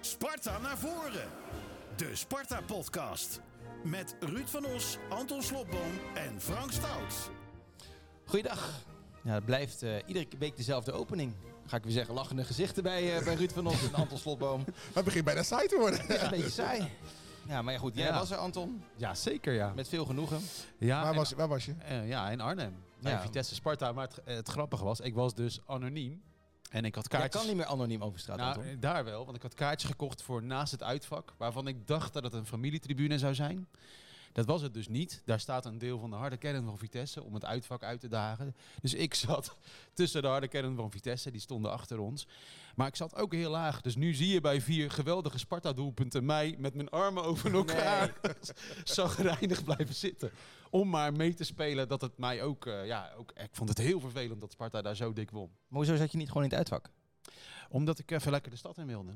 Sparta naar voren. De Sparta Podcast. Met Ruud van Os, Anton Slobboom en Frank Stout. Goeiedag. Ja, het blijft eh, iedere week dezelfde opening. Ga ik weer zeggen, lachende gezichten bij, eh, bij Ruud van Os en Anton Slotboom. Het begint bijna saai te worden. Een beetje saai. Ja, maar ja, goed. Jij Ja. was er, Anton. Ja, zeker ja. Met veel genoegen. ja, Waar en- was, waar was je? eh, ja, in Arnhem. Bij Ja. Vitesse Sparta. Maar het, eh, het grappige was, ik was dus anoniem. En ik had Jij kaartjes... kan niet meer anoniem over straat, Anton. nou, daar wel, want ik had kaartjes gekocht voor naast het uitvak, waarvan ik dacht dat het een familietribune zou zijn. Dat was het dus niet. Daar staat een deel van de harde kern van Vitesse om het uitvak uit te dagen. Dus ik zat tussen de harde kern van Vitesse, die stonden achter ons. Maar ik zat ook heel laag. Dus nu zie je bij vier geweldige Sparta-doelpunten mij met mijn armen over elkaar zagrijnig blijven zitten. Om maar mee te spelen dat het mij ook, eh, ja, ook... Ik vond het heel vervelend dat Sparta daar zo dik won. Maar hoezo zat je niet gewoon in het uitvak? Omdat ik even lekker de stad in wilde.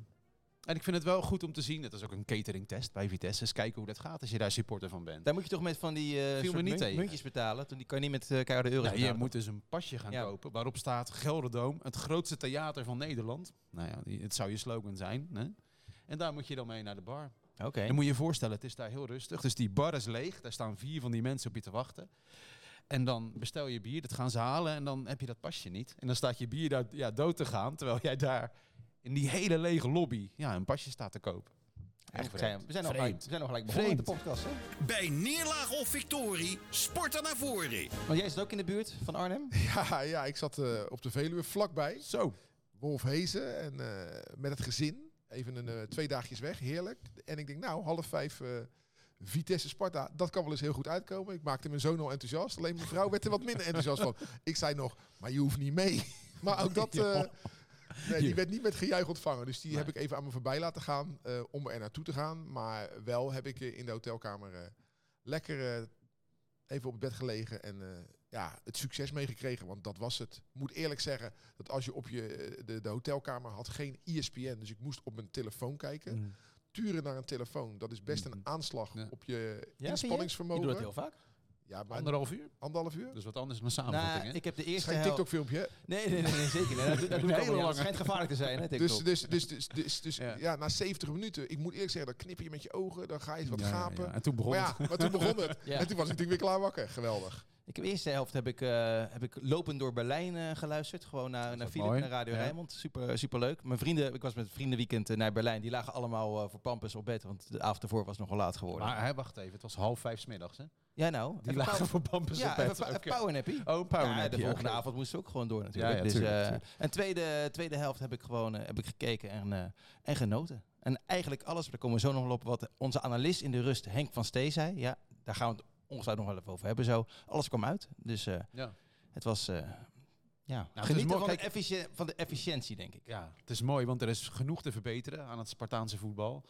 En ik vind het wel goed om te zien. Dat is ook een cateringtest bij Vitesse. Eens kijken hoe dat gaat als je daar supporter van bent. Daar moet je toch met van die eh, me soort niet mun- tegen. muntjes betalen. Toen die kan je niet met eh keiharde euro's Nou, je betalen. moet dus een pasje gaan Ja. kopen waarop staat Gelderdoom, het grootste theater van Nederland. Nou ja, die- het zou je slogan zijn. Hè? En daar moet je dan mee naar de bar. Oké. En moet je je voorstellen, het is daar heel rustig. Dus die bar is leeg. Daar staan vier van die mensen op je te wachten. En dan bestel je bier, dat gaan ze halen. En dan heb je dat pasje niet. En dan staat je bier daar ja, dood te gaan. Terwijl jij daar in die hele lege lobby ja, een pasje staat te kopen. Eigenlijk zijn we, we zijn nog gelijk, Vreemd. we zijn nog gelijk begonnen met de Vreemd. podcast. Hè? Bij neerlaag of victorie, Sparta naar voren. Want jij zit ook in de buurt van Arnhem. Ja, ja ik zat eh, op de Veluwe vlakbij. Zo. Wolf Hezen en eh, met het gezin. Even een, eh, twee dagjes weg, heerlijk. En ik denk, nou, half vijf eh, Vitesse Sparta, dat kan wel eens heel goed uitkomen. Ik maakte mijn zoon al enthousiast, alleen mijn vrouw werd er wat minder enthousiast van. Ik zei nog, maar je hoeft niet mee. Maar ook dat, eh, nee, die werd niet met gejuich ontvangen. Dus die heb ik even aan me voorbij laten gaan eh, om er naartoe te gaan. Maar wel heb ik eh, in de hotelkamer eh, lekker eh, even op het bed gelegen en eh, ja, het succes meegekregen. Want dat was het. Ik moet eerlijk zeggen dat als je op je, eh, de, de hotelkamer had geen ESPN, dus ik moest op mijn telefoon kijken. Turen naar een telefoon, dat is best een aanslag Mm. Ja. op je Ja, inspanningsvermogen. Ik doe dat heel vaak. Ja, maar Anderhalf uur. anderhalf uur? Dat is wat anders dan een Nou, samenvatting. hè? ik heb de Het is eerste geen helft... TikTok-filmpje. Nee, nee, nee, nee, zeker. Nee, dat doe- dat doe ik allemaal niet. Hele Het lange. schijnt gevaarlijk te zijn, hè, TikTok. Dus, dus, dus, dus, dus, dus Ja. ja. na 70 minuten, ik moet eerlijk zeggen, dan knipper je met je ogen, dan ga je eens wat Ja, ja, gapen. ja. En toen begon maar het. ja, maar toen begon het. Ja. En toen was ik natuurlijk weer klaar wakker. Geweldig. Ik heb de eerste helft heb ik, eh, heb ik lopend door Berlijn eh, geluisterd. Gewoon naar, naar ook Philip, mooi. naar Radio Ja. Rijnmond. Super, super leuk. Mijn vrienden, ik was met vriendenweekend eh, naar Berlijn. Die lagen allemaal eh, voor Pampus op bed. Want de avond ervoor was nogal laat geworden. Maar hij wacht even. Het was half vijf 's middags. Hè? ja, nou. Die even lagen pauw- voor Pampus Ja, op bed. even pa- Oké. een powernappie. Oh, een powernappie, Ja, de oké. volgende avond moesten ze ook gewoon door natuurlijk. Ja, ja, dus, tuurlijk, eh, tuurlijk. En tweede, tweede helft heb ik gewoon eh, heb ik gekeken en, eh, en genoten. En eigenlijk alles, daar komen we zo nog wel op, wat onze analist in de rust Henk van Stee zei. Ja, daar gaan we het ongetwijfeld nog wel even over hebben zo. Alles kwam uit, dus... eh, Ja. Het was. eh, ja, is genieten mooi, van, kijk- de efficië- van de efficiëntie, denk ik. Ja, het is mooi, want er is genoeg te verbeteren aan het Spartaanse voetbal.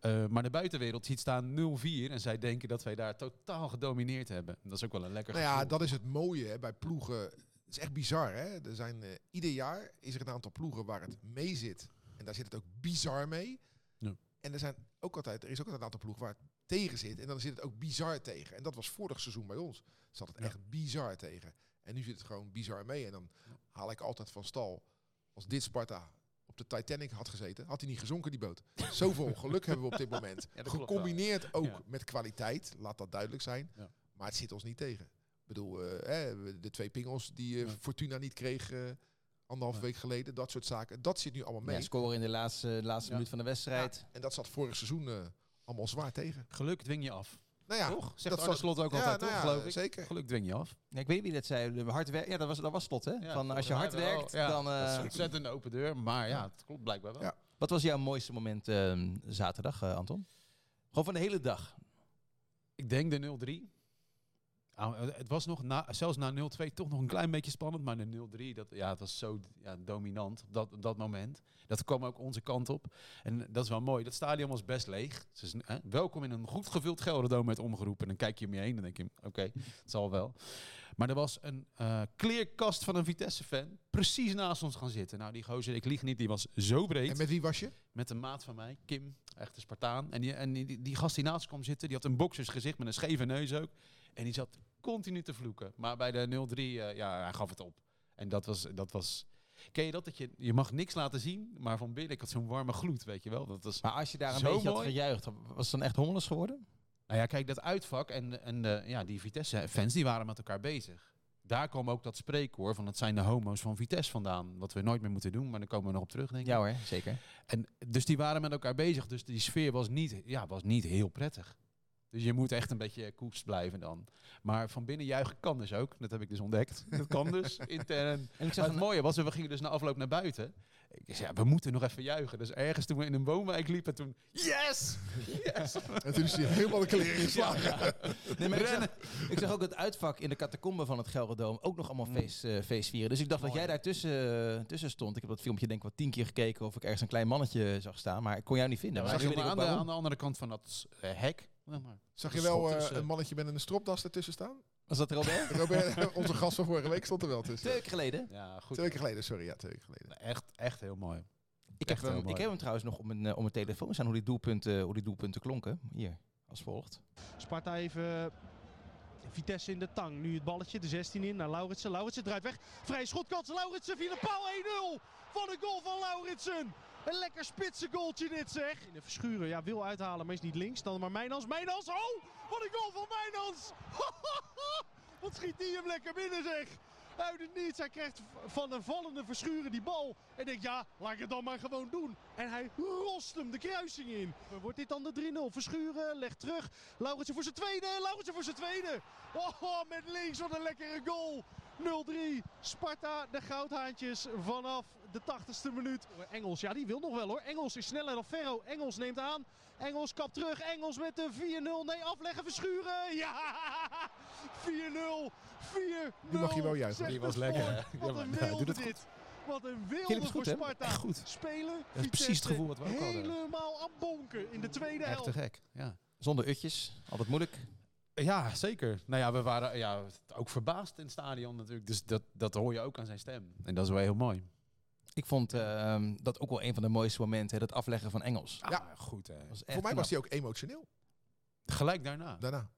Eh, maar de buitenwereld ziet staan 0-4 en zij denken dat wij daar totaal gedomineerd hebben. Dat is ook wel een lekker Nou ja, gevoel. dat is het mooie hè, bij ploegen. Het is echt bizar. Hè? Er zijn, eh, ieder jaar is er een aantal ploegen waar het mee zit. En daar zit het ook bizar mee. Ja. En er, zijn ook altijd, er is ook altijd een aantal ploegen waar het tegen zit. En dan zit het ook bizar tegen. En dat was vorig seizoen bij ons. Zat het echt bizar tegen. En nu zit het gewoon bizar mee. En dan haal ik altijd van stal. Als dit Sparta op de Titanic had gezeten, had hij niet gezonken, die boot. Zoveel geluk hebben we op dit moment. dat klopt wel. Gecombineerd ook Ja. met kwaliteit, laat dat duidelijk zijn. Ja. Maar het zit ons niet tegen. Ik bedoel, eh, hè, we- de twee pingels die eh, Ja. Fortuna niet kreeg eh, anderhalf week geleden, dat soort zaken. Dat zit nu allemaal mee. Ja, scoren in de laatste, de laatste Ja. minuut van de wedstrijd. En dat zat vorig seizoen eh, allemaal zwaar tegen. Geluk dwing je af. Nou ja, toch? Zegt dat Arne zat- Slot ook Ja, altijd, nou toch? ja, Geloof ik. Zeker. Geluk dwing je af. Ja, ik weet niet wie dat zei. Hard wer- ja, dat was, dat was slot, hè? van als je hard volgens mij wel. werkt, Ja, dan. eh, Dat is ontzettend een open deur, maar ja, het klopt blijkbaar wel. Ja. wat was jouw mooiste moment eh, zaterdag, eh, Anton? Gewoon van de hele dag. Ik denk de 0-3. Ah, het was nog, na, zelfs na 0-2, toch nog een klein beetje spannend. Maar de 0-3, dat, ja, het was zo ja, dominant op dat, op dat moment. Dat kwam ook onze kant op. En dat is wel mooi. Dat stadion was best leeg. Dus, hè, welkom in een goed gevuld Gelderdoom met omgeroepen. En dan kijk je om je heen en denk je, oké, het zal wel. Maar er was een eh, kleerkast van een Vitesse-fan precies naast ons gaan zitten. Nou, die gozer, ik lieg niet, die was zo breed En met wie was je? met een maat van mij, Kim, echte Spartaan. En, die, en die, die gast die naast ons kwam zitten, die had een boksersgezicht met een scheve neus ook. En die zat continu te vloeken. Maar bij de 0-3, eh, ja, hij gaf het op. En dat was, dat was Ken je dat? dat je, je mag niks laten zien, maar van binnen, ik had zo'n warme gloed, weet je wel. Dat was, Maar als je daar een Zo beetje had mooi. gejuicht, was het dan echt hommeles geworden? nou ja, kijk, dat uitvak en, en eh, ja, die Vitesse-fans, die waren met elkaar bezig. Daar kwam ook dat spreekwoord van het zijn de homo's van Vitesse vandaan. Wat we nooit meer moeten doen, maar daar komen we nog op terug, denk ik. Ja hoor, zeker. En dus die waren met elkaar bezig. Dus die sfeer was niet, ja, was niet heel prettig. Dus je moet echt een beetje koers blijven dan. Maar van binnen juichen kan dus ook. Dat heb ik dus ontdekt. Dat kan dus intern. En ik Maar zag het een, mooie was, we gingen dus na afloop naar buiten. Ik zei, ja, we moeten nog even juichen. Dus ergens toen we in een boomwijk liepen, toen... Yes! Nou, Yes! En toen is hij helemaal de kleren geslagen. nee, maar ik, zag, ik zag ook het uitvak in de catacombe van het Gelredoom ook nog allemaal Mm. feest, eh, feestvieren. Dus ik dacht dat Mooi. jij daartussen tussen eh, tussen stond. Ik heb dat filmpje denk ik wel tien keer gekeken of ik ergens een klein mannetje zag staan. Maar ik kon jou niet vinden. Nou, Maar zag nu je weet maar ik aan, ook de, waarom. aan de andere kant van dat eh, hek. Ja, maar- Zag Dat je is wel goed, eh, dus, eh, een mannetje met een stropdas ertussen staan? Was dat Robert? Robert, onze gast van vorige week stond er wel tussen. Twee weken geleden. Ja, goed. Twee weken geleden, sorry. Ja, twee weken geleden. Nou, Echt, echt heel mooi. Ik heb, Echt heel hem, ik mooi. heb hem trouwens nog op mijn, eh, op mijn telefoon staan, hoe die doelpunten, hoe die doelpunten klonken. Hier, als volgt. Sparta heeft eh, Vitesse in de tang. Nu het balletje, de 16 in naar Lauritsen. Lauritsen draait weg. Vrije schotkans. Lauritsen via de paal 1-0. Van een goal van Lauritsen. Een lekker spitse goaltje dit zeg. In de verschuren, ja, wil uithalen, maar is niet links. Dan maar Mijnans. Mijnans, oh! Wat een goal van Mijnans! Wat schiet die hem lekker binnen zeg! Uit het niets, hij krijgt v- van een vallende verschuren die bal. En denkt, ja, laat ik het dan maar gewoon doen. En hij rost hem de kruising in. Wordt dit dan de 3-0? Verschuren, legt terug. Lauritsen voor zijn tweede, Lauritsen voor zijn tweede. Oh, met links, wat een lekkere goal. 0-3, Sparta, de goudhaantjes vanaf de 80ste minuut. Engels, ja die wil nog wel hoor. Engels is sneller dan Ferro. Engels neemt aan. Engels kap terug. Engels met de 4-0. Nee, afleggen, verschuren. Ja, 4-0, 4-0. Die mag je wel juichen. Zegt Die was de lekker, sport. hè? Ja, Wat maar- een ja, doe wilde dat goed. dit. Wat een Jullie wilde hebben voor het goed, hè? Sparta. Echt goed. Spelen, Dat is precies het Vitesse gevoel wat we ook hadden. helemaal aan bonken in de tweede Echt helft. te gek, ja. Zonder utjes, altijd moeilijk. Ja, zeker. Nou ja, we waren ja, ook verbaasd in het stadion natuurlijk. Dus dat, dat hoor je ook aan zijn stem. En dat is wel heel mooi. Ik vond ehm, dat ook wel een van de mooiste momenten, hè, dat afleggen van Engels. Ja. Ah, goed hè. Dat was echt Voor mij knap. was hij ook emotioneel Gelijk daarna. daarna.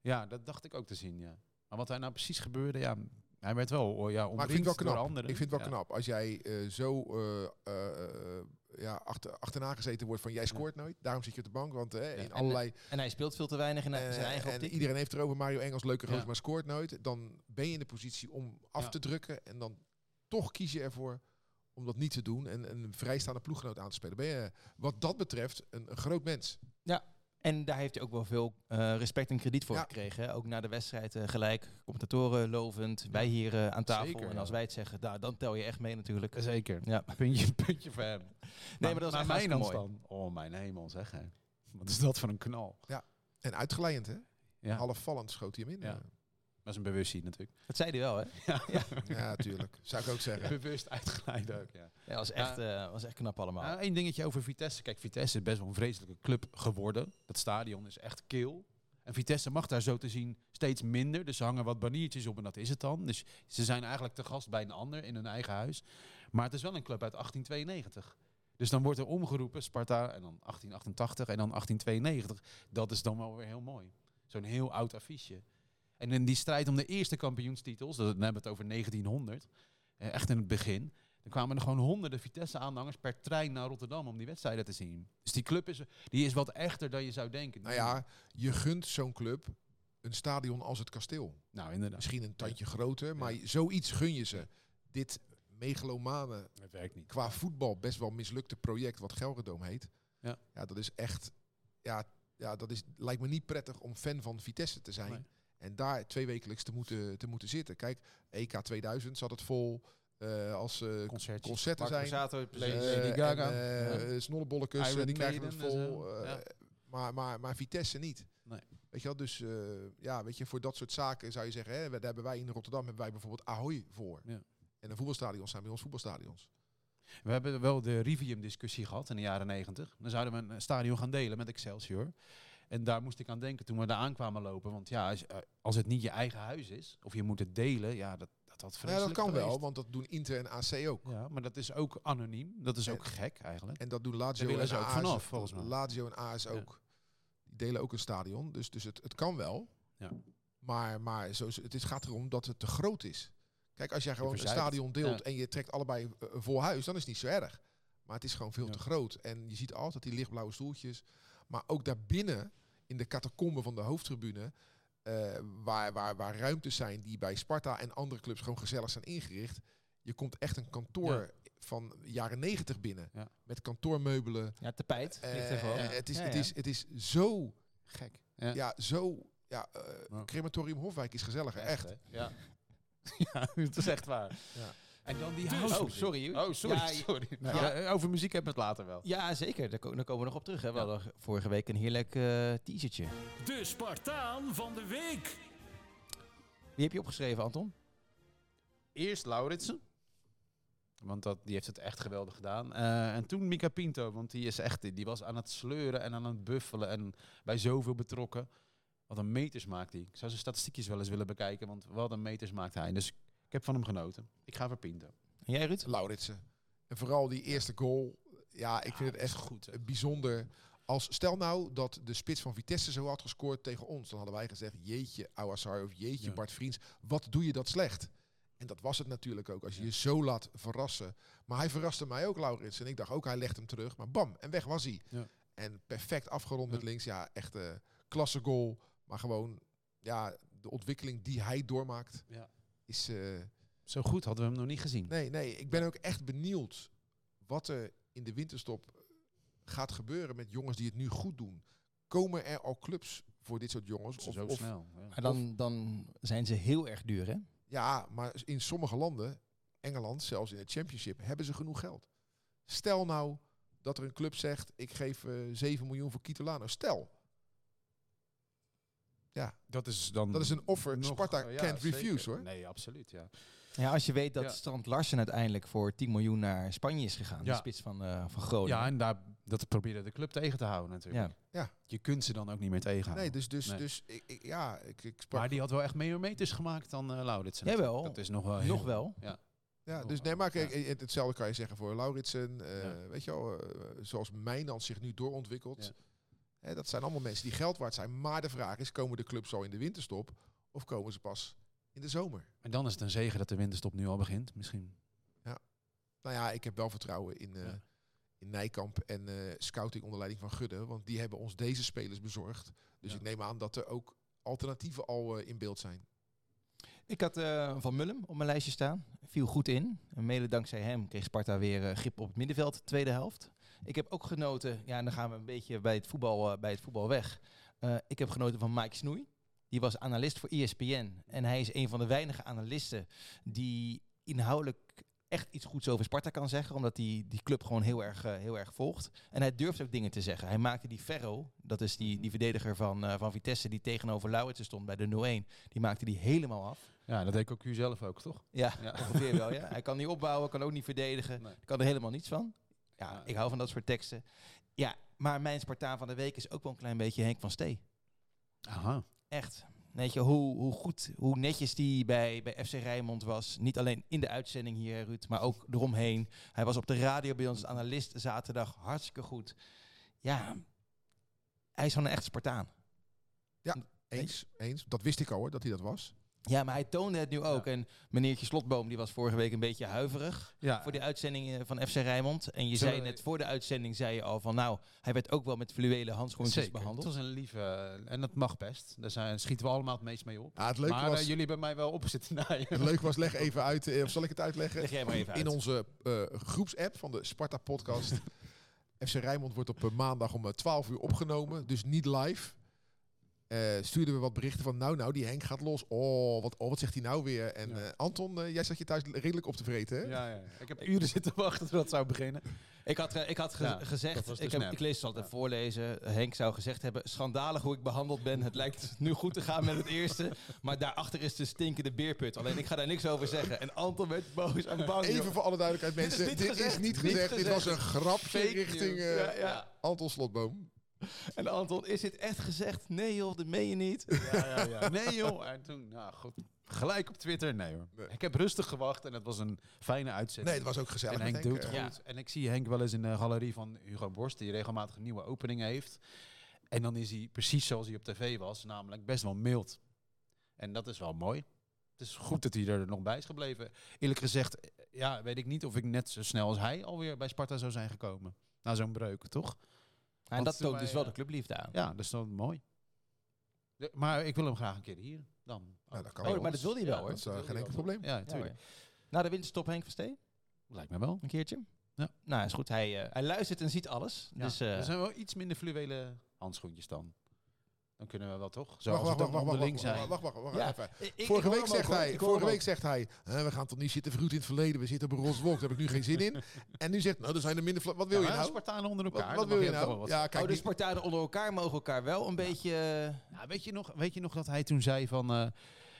Ja, dat dacht ik ook te zien, ja. Maar wat daar nou precies gebeurde, ja, hij werd wel oh, ja, Maar ik vind het wel knap. anderen. Ik vind het wel Ja. knap. Als jij eh, zo eh, eh, eh, ja, achter, achterna gezeten wordt van jij scoort nooit. Daarom zit je op de bank. Want eh, in en- allerlei... En hij speelt veel te weinig in eh, zijn eigen en optiek. iedereen heeft erover. Mario Engels, leuke gozer, Ja. maar scoort nooit. Dan ben je in de positie om af Ja. te drukken. En dan toch kies je ervoor om dat niet te doen. En een vrijstaande ploeggenoot aan te spelen. Ben je wat dat betreft een, een groot mens. En daar heeft hij ook wel veel eh, respect en krediet voor Ja. gekregen. hè. Ook na de wedstrijd eh, gelijk, commentatoren lovend, wij hier eh, aan tafel. Zeker, en als ja. wij het zeggen, nou, dan tel je echt mee natuurlijk. Zeker. Ja. Puntje, puntje voor hem. Nee, maar dat was echt mijn hartstikke mooi. dan. Oh, mijn hemel, zeg hè. Wat is dat voor een knal? En uitgeleidend, hè? Ja, dat Halfvallend schoot hij hem in. Ja. Ja, is een bewustzijn natuurlijk. Dat zei hij wel, hè? ja tuurlijk. Zou ik ook zeggen. Bewust uitgeleid ook, ja. Ja, was, echt, eh, was echt knap allemaal. Eén Nou, dingetje over Vitesse. Kijk, Vitesse is best wel een vreselijke club geworden. Dat stadion is echt kil. En Vitesse mag daar zo te zien steeds minder. Dus ze hangen wat baniertjes op en dat is het dan. Dus ze zijn eigenlijk te gast bij een ander in hun eigen huis. Maar het is wel een club uit 1892. Dus dan wordt er omgeroepen Sparta en dan 1888 en dan 1892. Dat is dan wel weer heel mooi. Zo'n heel oud affiche. En in die strijd om de eerste kampioenstitels, dat- dan hebben we het over 1900, eh, echt in het begin. Dan kwamen er gewoon honderden Vitesse-aanhangers per trein naar Rotterdam om die wedstrijden te zien. Dus die club is, die is wat echter dan je zou denken. Nou ja, je gunt zo'n club een stadion als het kasteel. nou inderdaad. Misschien een tandje groter, maar zoiets gun je ze. Dit megalomane, Het werkt niet. qua voetbal best wel mislukte project wat Gelredome heet. Ja. dat is echt... Ja, ja, dat is, lijkt me niet prettig om fan van Vitesse te zijn. Nee. En daar twee wekelijks te moeten, te moeten zitten. Kijk, EK 2000 zat het vol. eh, als eh Concertjes. concerten zijn. Lady Eh, Gaga. en, eh, Snollebollekes, Iron eh, die krijgen het Maiden en vol. zo. eh, Ja. maar, maar, maar Vitesse niet. Nee. Weet je wel, dus eh, ja, weet je, voor dat soort zaken zou je zeggen, hè, daar hebben wij in Rotterdam hebben wij bijvoorbeeld Ahoy voor. Ja. En de voetbalstadions zijn bij ons voetbalstadions. We hebben wel de Rivium-discussie gehad in de jaren 90. Dan zouden we een eh, stadion gaan delen met Excelsior. En daar moest ik aan denken toen we daar aankwamen lopen. Want ja, als, eh, als het niet je eigen huis is, of je moet het delen, ja, dat, dat had Ja, dat vreselijk kan wel, geweest. want dat doen Inter en AC ook. Ja, maar dat is ook anoniem. Dat is ook gek eigenlijk. En dat doen Daar Lazio willen en ze ook AS, vanaf, volgens mij. Lazio en AS Ja. ook. Die delen ook een stadion, dus, dus het, het kan wel. Ja. Maar, maar zo, is- het is, gaat erom dat het te groot is. Kijk, als jij gewoon een verzuipt. stadion deelt Ja. en je trekt allebei eh, voor huis, dan is het niet zo erg. Maar het is gewoon veel Ja. te groot. En je ziet altijd die lichtblauwe stoeltjes. Maar ook daarbinnen, in de catacomben van de hoofdtribune, eh, waar, waar, waar ruimtes zijn die bij Sparta en andere clubs gewoon gezellig zijn ingericht. Je komt echt een kantoor van jaren negentig binnen. Ja. Met kantoormeubelen. Ja, tapijt. Eh, ligt er gewoon. eh, het, is, Ja, het, ja. is, het is zo, Gek. Ja. ja, zo, ja, eh, Ja. crematorium Hofwijk is gezelliger, echt. hè? Ja. ja, het is echt waar. Ja. En dan die Dus- house Oh, music. sorry. Oh, sorry. Ja, je- sorry. Nee. Ja, eh, over muziek hebben we het later wel. Ja, zeker. Daar, ko- daar komen we nog op terug. Hè. We Ja. hadden vorige week een heerlijk eh teasertje. De Spartaan van de week. Die heb je opgeschreven, Anton? Eerst Lauritsen. Want dat, die heeft het echt geweldig gedaan. Eh, en toen Mika Pinto, want die, is echt, die was aan het sleuren en aan het buffelen en bij zoveel betrokken. Wat een meters maakt hij. Ik zou zijn statistiekjes wel eens willen bekijken, want wat een meters maakt hij. Dus ik heb van hem genoten. Ik ga voor Pinto. En jij, Ruud? Lauritsen. En vooral die eerste goal. Ja, ik vind het echt goed. bijzonder. Als, stel nou dat de spits van Vitesse zo had gescoord tegen ons. Dan hadden wij gezegd, jeetje Ouassar of jeetje Ja. Bart Vriends. Wat doe je dat slecht? En dat was het natuurlijk ook. Als je je zo laat verrassen. Maar hij verraste mij ook, Laurits. En ik dacht ook, hij legt hem terug. Maar bam, en weg was hij. Ja. En perfect afgerond Ja. met links. Ja, echt eh klasse goal. Maar gewoon, ja, de ontwikkeling die hij doormaakt Ja. is... eh, Zo goed hadden we hem nog niet gezien. Nee, nee, ik ben ook echt benieuwd wat er in de winterstop eh, gaat gebeuren met jongens die het nu goed doen. Komen er al clubs voor dit soort jongens? Zo Of- of- snel. ja. Maar dan, dan zijn ze heel erg duur, hè? ja, maar in sommige landen, Engeland, zelfs in de Championship, hebben ze genoeg geld. Stel nou dat er een club zegt: ik geef eh 7 miljoen voor Kitolano. Stel, Dat is dan dat is een offer. nog- oh Sparta ja, can't zeker. refuse hoor. Nee, absoluut. Ja. Ja, als je weet dat Ja. Strand Larsen uiteindelijk voor 10 miljoen naar Spanje is gegaan. Ja. De spits van, eh, van Groningen. ja, en daar, dat proberen de club tegen te houden natuurlijk. Ja. Ja. Je kunt ze dan ook niet meer tegenhouden. Nee, dus, dus, Nee. dus ik, ik- ja, ik, ik sprak. maar die had wel echt meer meters gemaakt dan eh Lauritsen. Jawel. Dat is nog wel heel- Nog wel. Ja, Oh, dus nee, oh, maar kijk, ja. het- hetzelfde kan je zeggen voor Lauritsen. eh, Ja. Weet je wel, eh, zoals Mijnland zich nu doorontwikkelt. Ja. Hè, dat zijn allemaal mensen die geld waard zijn. Maar de vraag is, komen de clubs al in de winterstop? Of komen ze pas in de zomer? En dan is het een zegen dat de winterstop nu al begint. Misschien. Nou ja, ik heb wel vertrouwen in, eh, Ja. in Nijkamp en eh, scouting onder leiding van Gudde. Want die hebben ons deze spelers bezorgd. Dus Ja. ik neem aan dat er ook alternatieven al eh, in beeld zijn. Ik had eh, Van Mullum op mijn lijstje staan. Viel goed in. En mede dankzij hem kreeg Sparta weer eh, grip op het middenveld, tweede helft. Ik heb ook genoten, ja, en dan gaan we een beetje bij het voetbal, eh, bij het voetbal weg. Eh, ik heb genoten van Mike Snoei. Die was analist voor E ESPN. En hij is een van de weinige analisten die inhoudelijk echt iets goeds over Sparta kan zeggen. Omdat hij die club gewoon heel erg, eh, heel erg volgt. En hij durft ook dingen te zeggen. Hij maakte die Ferro, dat is die, die verdediger van, eh, van Vitesse... die tegenover Lauritsen stond bij de 0-1. Die maakte die helemaal af. Ja, dat deed ook u zelf ook, toch? Ja, Ja. ongeveer wel. Ja. Hij kan niet opbouwen, kan ook niet verdedigen. Nee. Kan er helemaal niets van. Ja, Ja. ik hou van dat soort teksten. Ja, maar mijn Spartaan van de week is ook wel een klein beetje Henk van Stee. Aha. Echt. Weet je, hoe, hoe goed, hoe netjes die bij, bij FC Rijnmond was. Niet alleen in de uitzending hier, Ruud, maar ook eromheen. Hij was op de radio bij ons als analist zaterdag. Hartstikke goed. Ja, hij is gewoon een echt Spartaan. Eens, eens. Dat wist ik al hoor, dat hij dat was. Ja, maar hij toonde het nu ook. En meneertje Slotboom, die was vorige week een beetje huiverig. Ja. voor die uitzending eh, van FC Rijnmond. En je Zullen zei we- net voor de uitzending zei je al van nou, hij werd ook wel met fluwelen handschoentjes Zeker. behandeld. Het was een lieve... eh, En dat mag best. Daar zijn, schieten we allemaal het meest mee op. Ah, het leuke maar was... eh, jullie hebben mij wel op zitten naaien. Het leuke was, leg even uit, eh, of zal ik het uitleggen? Leg jij maar even In uit. onze eh, groepsapp van de Sparta podcast. FC Rijnmond wordt op eh, maandag om eh, 12 uur opgenomen, dus niet live. Eh, stuurden we wat berichten van, nou nou, die Henk gaat los. Oh, wat, oh, wat zegt hij nou weer? En Ja. eh, Anton, eh, jij zat je thuis redelijk op te vreten, hè? Ja, ja. Ik heb uren zitten wachten tot het zou beginnen. Ik had, eh, ik had ge- Ja, dat was gezegd, de ik, heb, snap. ik lees het altijd Ja. voorlezen. Henk zou gezegd hebben, schandalig hoe ik behandeld ben. Het lijkt nu goed te gaan met het eerste. Maar daarachter is de stinkende beerput. Alleen ik ga daar niks over zeggen. En Anton werd boos en bang. joh. Even voor alle duidelijkheid, is mensen. niet Dit is gezegd. niet, gezegd. Niet Dit was een grapje Fake richting news. eh, Ja, ja. Anton Slotboom. En Anton, is dit echt gezegd? Nee joh, dat meen je niet. Ja, ja, ja. Nee joh. En toen, nou goed. Gelijk op Twitter. Nee hoor. Nee. Ik heb rustig gewacht en het was een fijne uitzending. Nee, het was ook gezellig. En Henk met Henk, doet eh. goed. Ja. En ik zie Henk wel eens in de galerie van Hugo Borst, die regelmatig nieuwe openingen heeft. En dan is hij precies zoals hij op tv was, namelijk best wel mild. En dat is wel mooi. Het is goed dat hij er nog bij is gebleven. Eerlijk gezegd, eh, ja, weet ik niet of ik net zo snel als hij alweer bij Sparta zou zijn gekomen. Na zo'n breuk, toch? En dat toont wij, dus wel eh, de clubliefde aan. Ja, dat is dan mooi. De- maar ik wil hem graag een keer hier. Dan. Nou, dat kan Oh, wel. maar dat wil hij wel, hoor. dat is eh, wil geen hij enkel wel. probleem. Ja, natuurlijk. Na de winterstop Henk van Steen, Lijkt me wel. een keertje. Ja. Nou, is goed. Hij, eh, hij luistert en ziet alles. Dus, eh, er zijn wel iets minder fluwele handschoentjes dan. Dan kunnen we wel toch? Zo Wacht, wacht, als we wacht, dan wacht, onderling wacht, zijn. wacht, wacht, wacht, wacht Ja. even. ik- ik- Vorige ik hoor week hem zegt ook, hoor. hij, Ik hoor hem vorige week ook. zegt hij, "Hè, we gaan toch niet zitten verroet in het verleden, we zitten op een roze wolk, daar heb ik nu geen zin in. En nu zegt, nou, er zijn er minder, vla- wat wil Ja, je maar nou? Spartanen onder Wat, elkaar. wat dan wil mag je toch wel nou? wat Ja, Oh, kijk, de niet- Spartanen onder elkaar mogen elkaar wel een beetje... eh, Ja, weet, je nog, weet je nog dat hij toen zei van eh,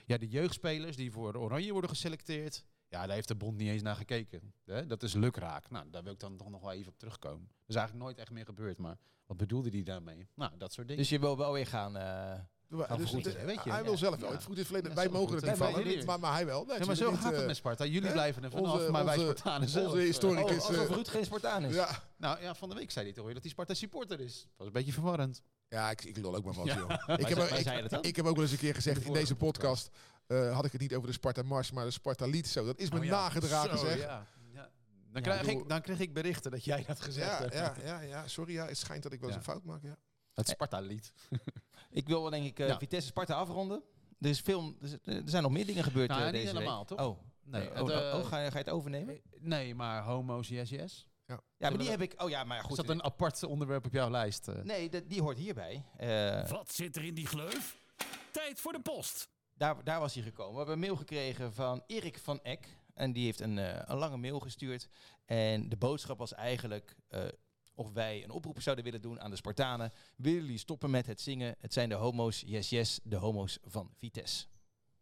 ja, de jeugdspelers die voor Oranje worden geselecteerd. Ja, daar heeft de bond niet eens naar gekeken. Hè? Dat is lukraak. Nou, daar wil ik dan toch nog wel even op terugkomen. Dat is eigenlijk nooit echt meer gebeurd, maar wat bedoelde hij daarmee? Nou, dat soort dingen. dus je wil wel weer gaan... eh, we- dus vergoed, het- hè, weet je. hij Ja. wil zelf wel, Ja. het verroet in het verleden, Ja, wij zo mogen goed. het niet Wij van, mogen niet, niet. maar, maar hij wel. Nee, Ja, maar zo natuurlijk gaat niet, het eh, met Sparta. Jullie hè? blijven er vanaf, Onze- maar wij onze- Spartanen zelf. Onze Oh, historicus, alsof eh, Ruud geen Spartaan is. ja, Nou ja, van de week zei hij toch weer dat hij Sparta supporter is. Dat was een beetje verwarrend. ja ik, ik lul ook maar van, Ja. joh. Ik heb, zei- ook- wij ik- zeiden het ook. ik heb ook wel eens een keer gezegd in vorige deze podcast, eh, had ik het niet over de Sparta Mars, maar de Sparta Lied. Zo, dat is me Oh ja, nagedragen, zo, zeg. ja. Ja. Dan, Ja, krijg bedoel- ik, dan kreeg ik berichten dat jij dat gezegd Ja, hebt. ja, ja, ja, sorry, ja, het schijnt dat ik wel eens Ja. een fout maak, ja. Het Sparta-lied. Ik wil wel denk ik eh, Ja. Vitesse Sparta afronden. Er, is veel, er z- er zijn nog meer dingen gebeurd Nou, eh, niet deze week. helemaal, toch? Oh, Nee, nee. het, oh, eh, oh, ga, je- ga je het overnemen? Nee, maar homo's, yes, yes. Ja, maar die zullen heb ik... Oh ja, maar Is goed. dat een apart onderwerp op jouw lijst? eh? Nee, dat- die hoort hierbij. Eh, Wat zit er in die gleuf? Tijd voor de post. daar, daar was hij gekomen. We hebben een mail gekregen van Erik van Eck. En die heeft een, eh, een lange mail gestuurd. En de boodschap was eigenlijk... eh, of wij een oproep zouden willen doen aan de Spartanen. Willen jullie stoppen met het zingen? Het zijn de homo's, yes, yes, de homo's van Vitesse.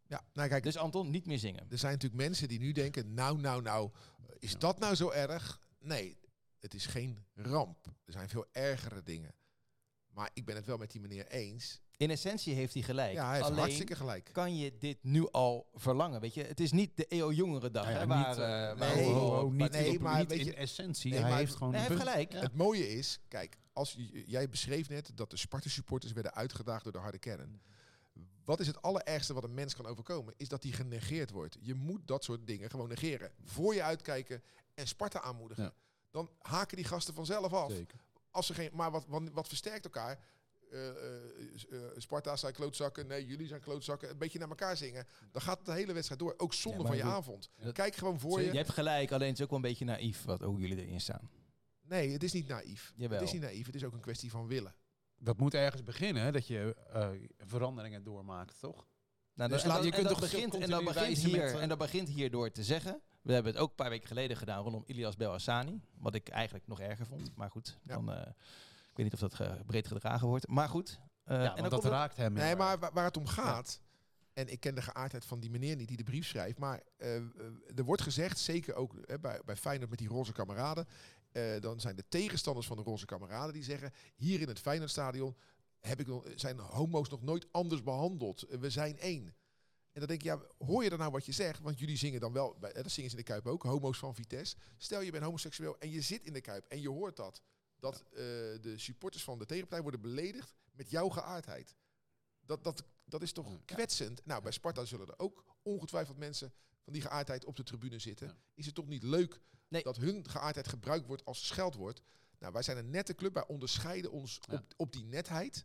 Ja, nou kijk, Dus Anton, niet meer zingen. er zijn natuurlijk mensen die nu denken, nou, nou, nou, is dat nou zo erg? Nee, het is geen ramp. Er zijn veel ergere dingen. Maar ik ben het wel met die meneer eens. In essentie heeft hij gelijk. Ja, hij heeft Alleen hartstikke gelijk. kan je dit nu al verlangen? Weet je, het is niet de EO Jongerendag. Nou ja, hè, niet, waar, eh, eh, nee, waar- ho, ho, waar- ho, waar- niet nee, op- maar niet weet je- in essentie. nee, hij maar- heeft gewoon Nee, een hij heeft punt. gelijk. Ja. Het mooie is, kijk, als j- jij beschreef net dat de Sparta-supporters werden uitgedaagd door de harde kern. Wat is het allerergste wat een mens kan overkomen? Is dat die genegeerd wordt. Je moet dat soort dingen gewoon negeren. Voor je uitkijken en Sparta aanmoedigen. Ja. Dan haken die gasten vanzelf af. Zeker. als ze geen, maar wat, wat, wat versterkt elkaar? Eh, eh, s- eh, Sparta zijn klootzakken, nee, jullie zijn klootzakken. Een beetje naar elkaar zingen. Dan gaat de hele wedstrijd door. Ook zonder Ja, maar van je ik bedoel- avond. dat- Kijk gewoon voor Je je. hebt gelijk, alleen het is ook wel een beetje naïef wat ook jullie erin staan. Nee, het is niet naïef. Jawel. Het is niet naïef. Het is ook een kwestie van willen. Dat moet ergens beginnen, hè, dat je eh, veranderingen doormaakt, toch? Nou, Dus en laat- dat- je en kunt dat toch begint, en dat continu begint wijzen hier met, eh, en dat begint hier door te zeggen. We hebben het ook een paar weken geleden gedaan rondom Ilias Belhassani, wat ik eigenlijk nog erger vond. Maar goed, Ja. dan, eh, ik weet niet of dat ge- breed gedragen wordt. Maar goed. eh, ja, en want dan dat komt raakt hem. eh, Nee, heel maar erg. wa- waar het om gaat. En ik ken de geaardheid van die meneer niet die de brief schrijft. Maar eh, eh, er wordt gezegd, zeker ook hè, bij, bij Feyenoord met die roze kameraden. eh, dan zijn de tegenstanders van de roze kameraden die zeggen... hier in het Feyenoordstadion heb ik, nog- zijn homo's nog nooit anders behandeld. Eh, we zijn één. En dan denk ik, ja, hoor je dan nou wat je zegt? Want jullie zingen dan wel, bij, eh, dat zingen ze in de Kuip ook, homo's van Vitesse. Stel je bent homoseksueel en je zit in de Kuip en je hoort dat. Dat eh, de supporters van de tegenpartij worden beledigd met jouw geaardheid. Dat, dat, dat is toch Ja. kwetsend? Nou, bij Sparta zullen er ook ongetwijfeld mensen van die geaardheid op de tribune zitten. Ja. Is het toch niet leuk Nee. dat hun geaardheid gebruikt wordt als scheldwoord? Nou, wij zijn een nette club, wij onderscheiden ons Ja. op, op die netheid.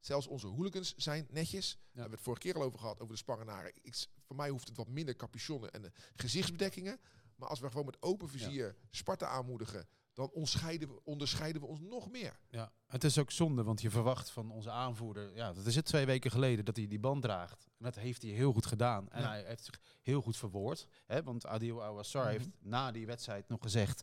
Zelfs onze hooligans zijn netjes. Daar hebben we het vorige keer al over gehad, over de Spangenaren. Ik, s- voor mij hoeft het wat minder capuchonnen en eh, gezichtsbedekkingen. Maar als we gewoon met open vizier Sparta aanmoedigen, dan onderscheiden we, onderscheiden we ons nog meer. Ja, het is ook zonde, want je verwacht van onze aanvoerder. Ja, dat is het twee weken geleden dat hij die band draagt. En dat heeft hij heel goed gedaan. En Ja. hij heeft zich heel goed verwoord. Hè, want Adil Awassar heeft na die wedstrijd nog gezegd.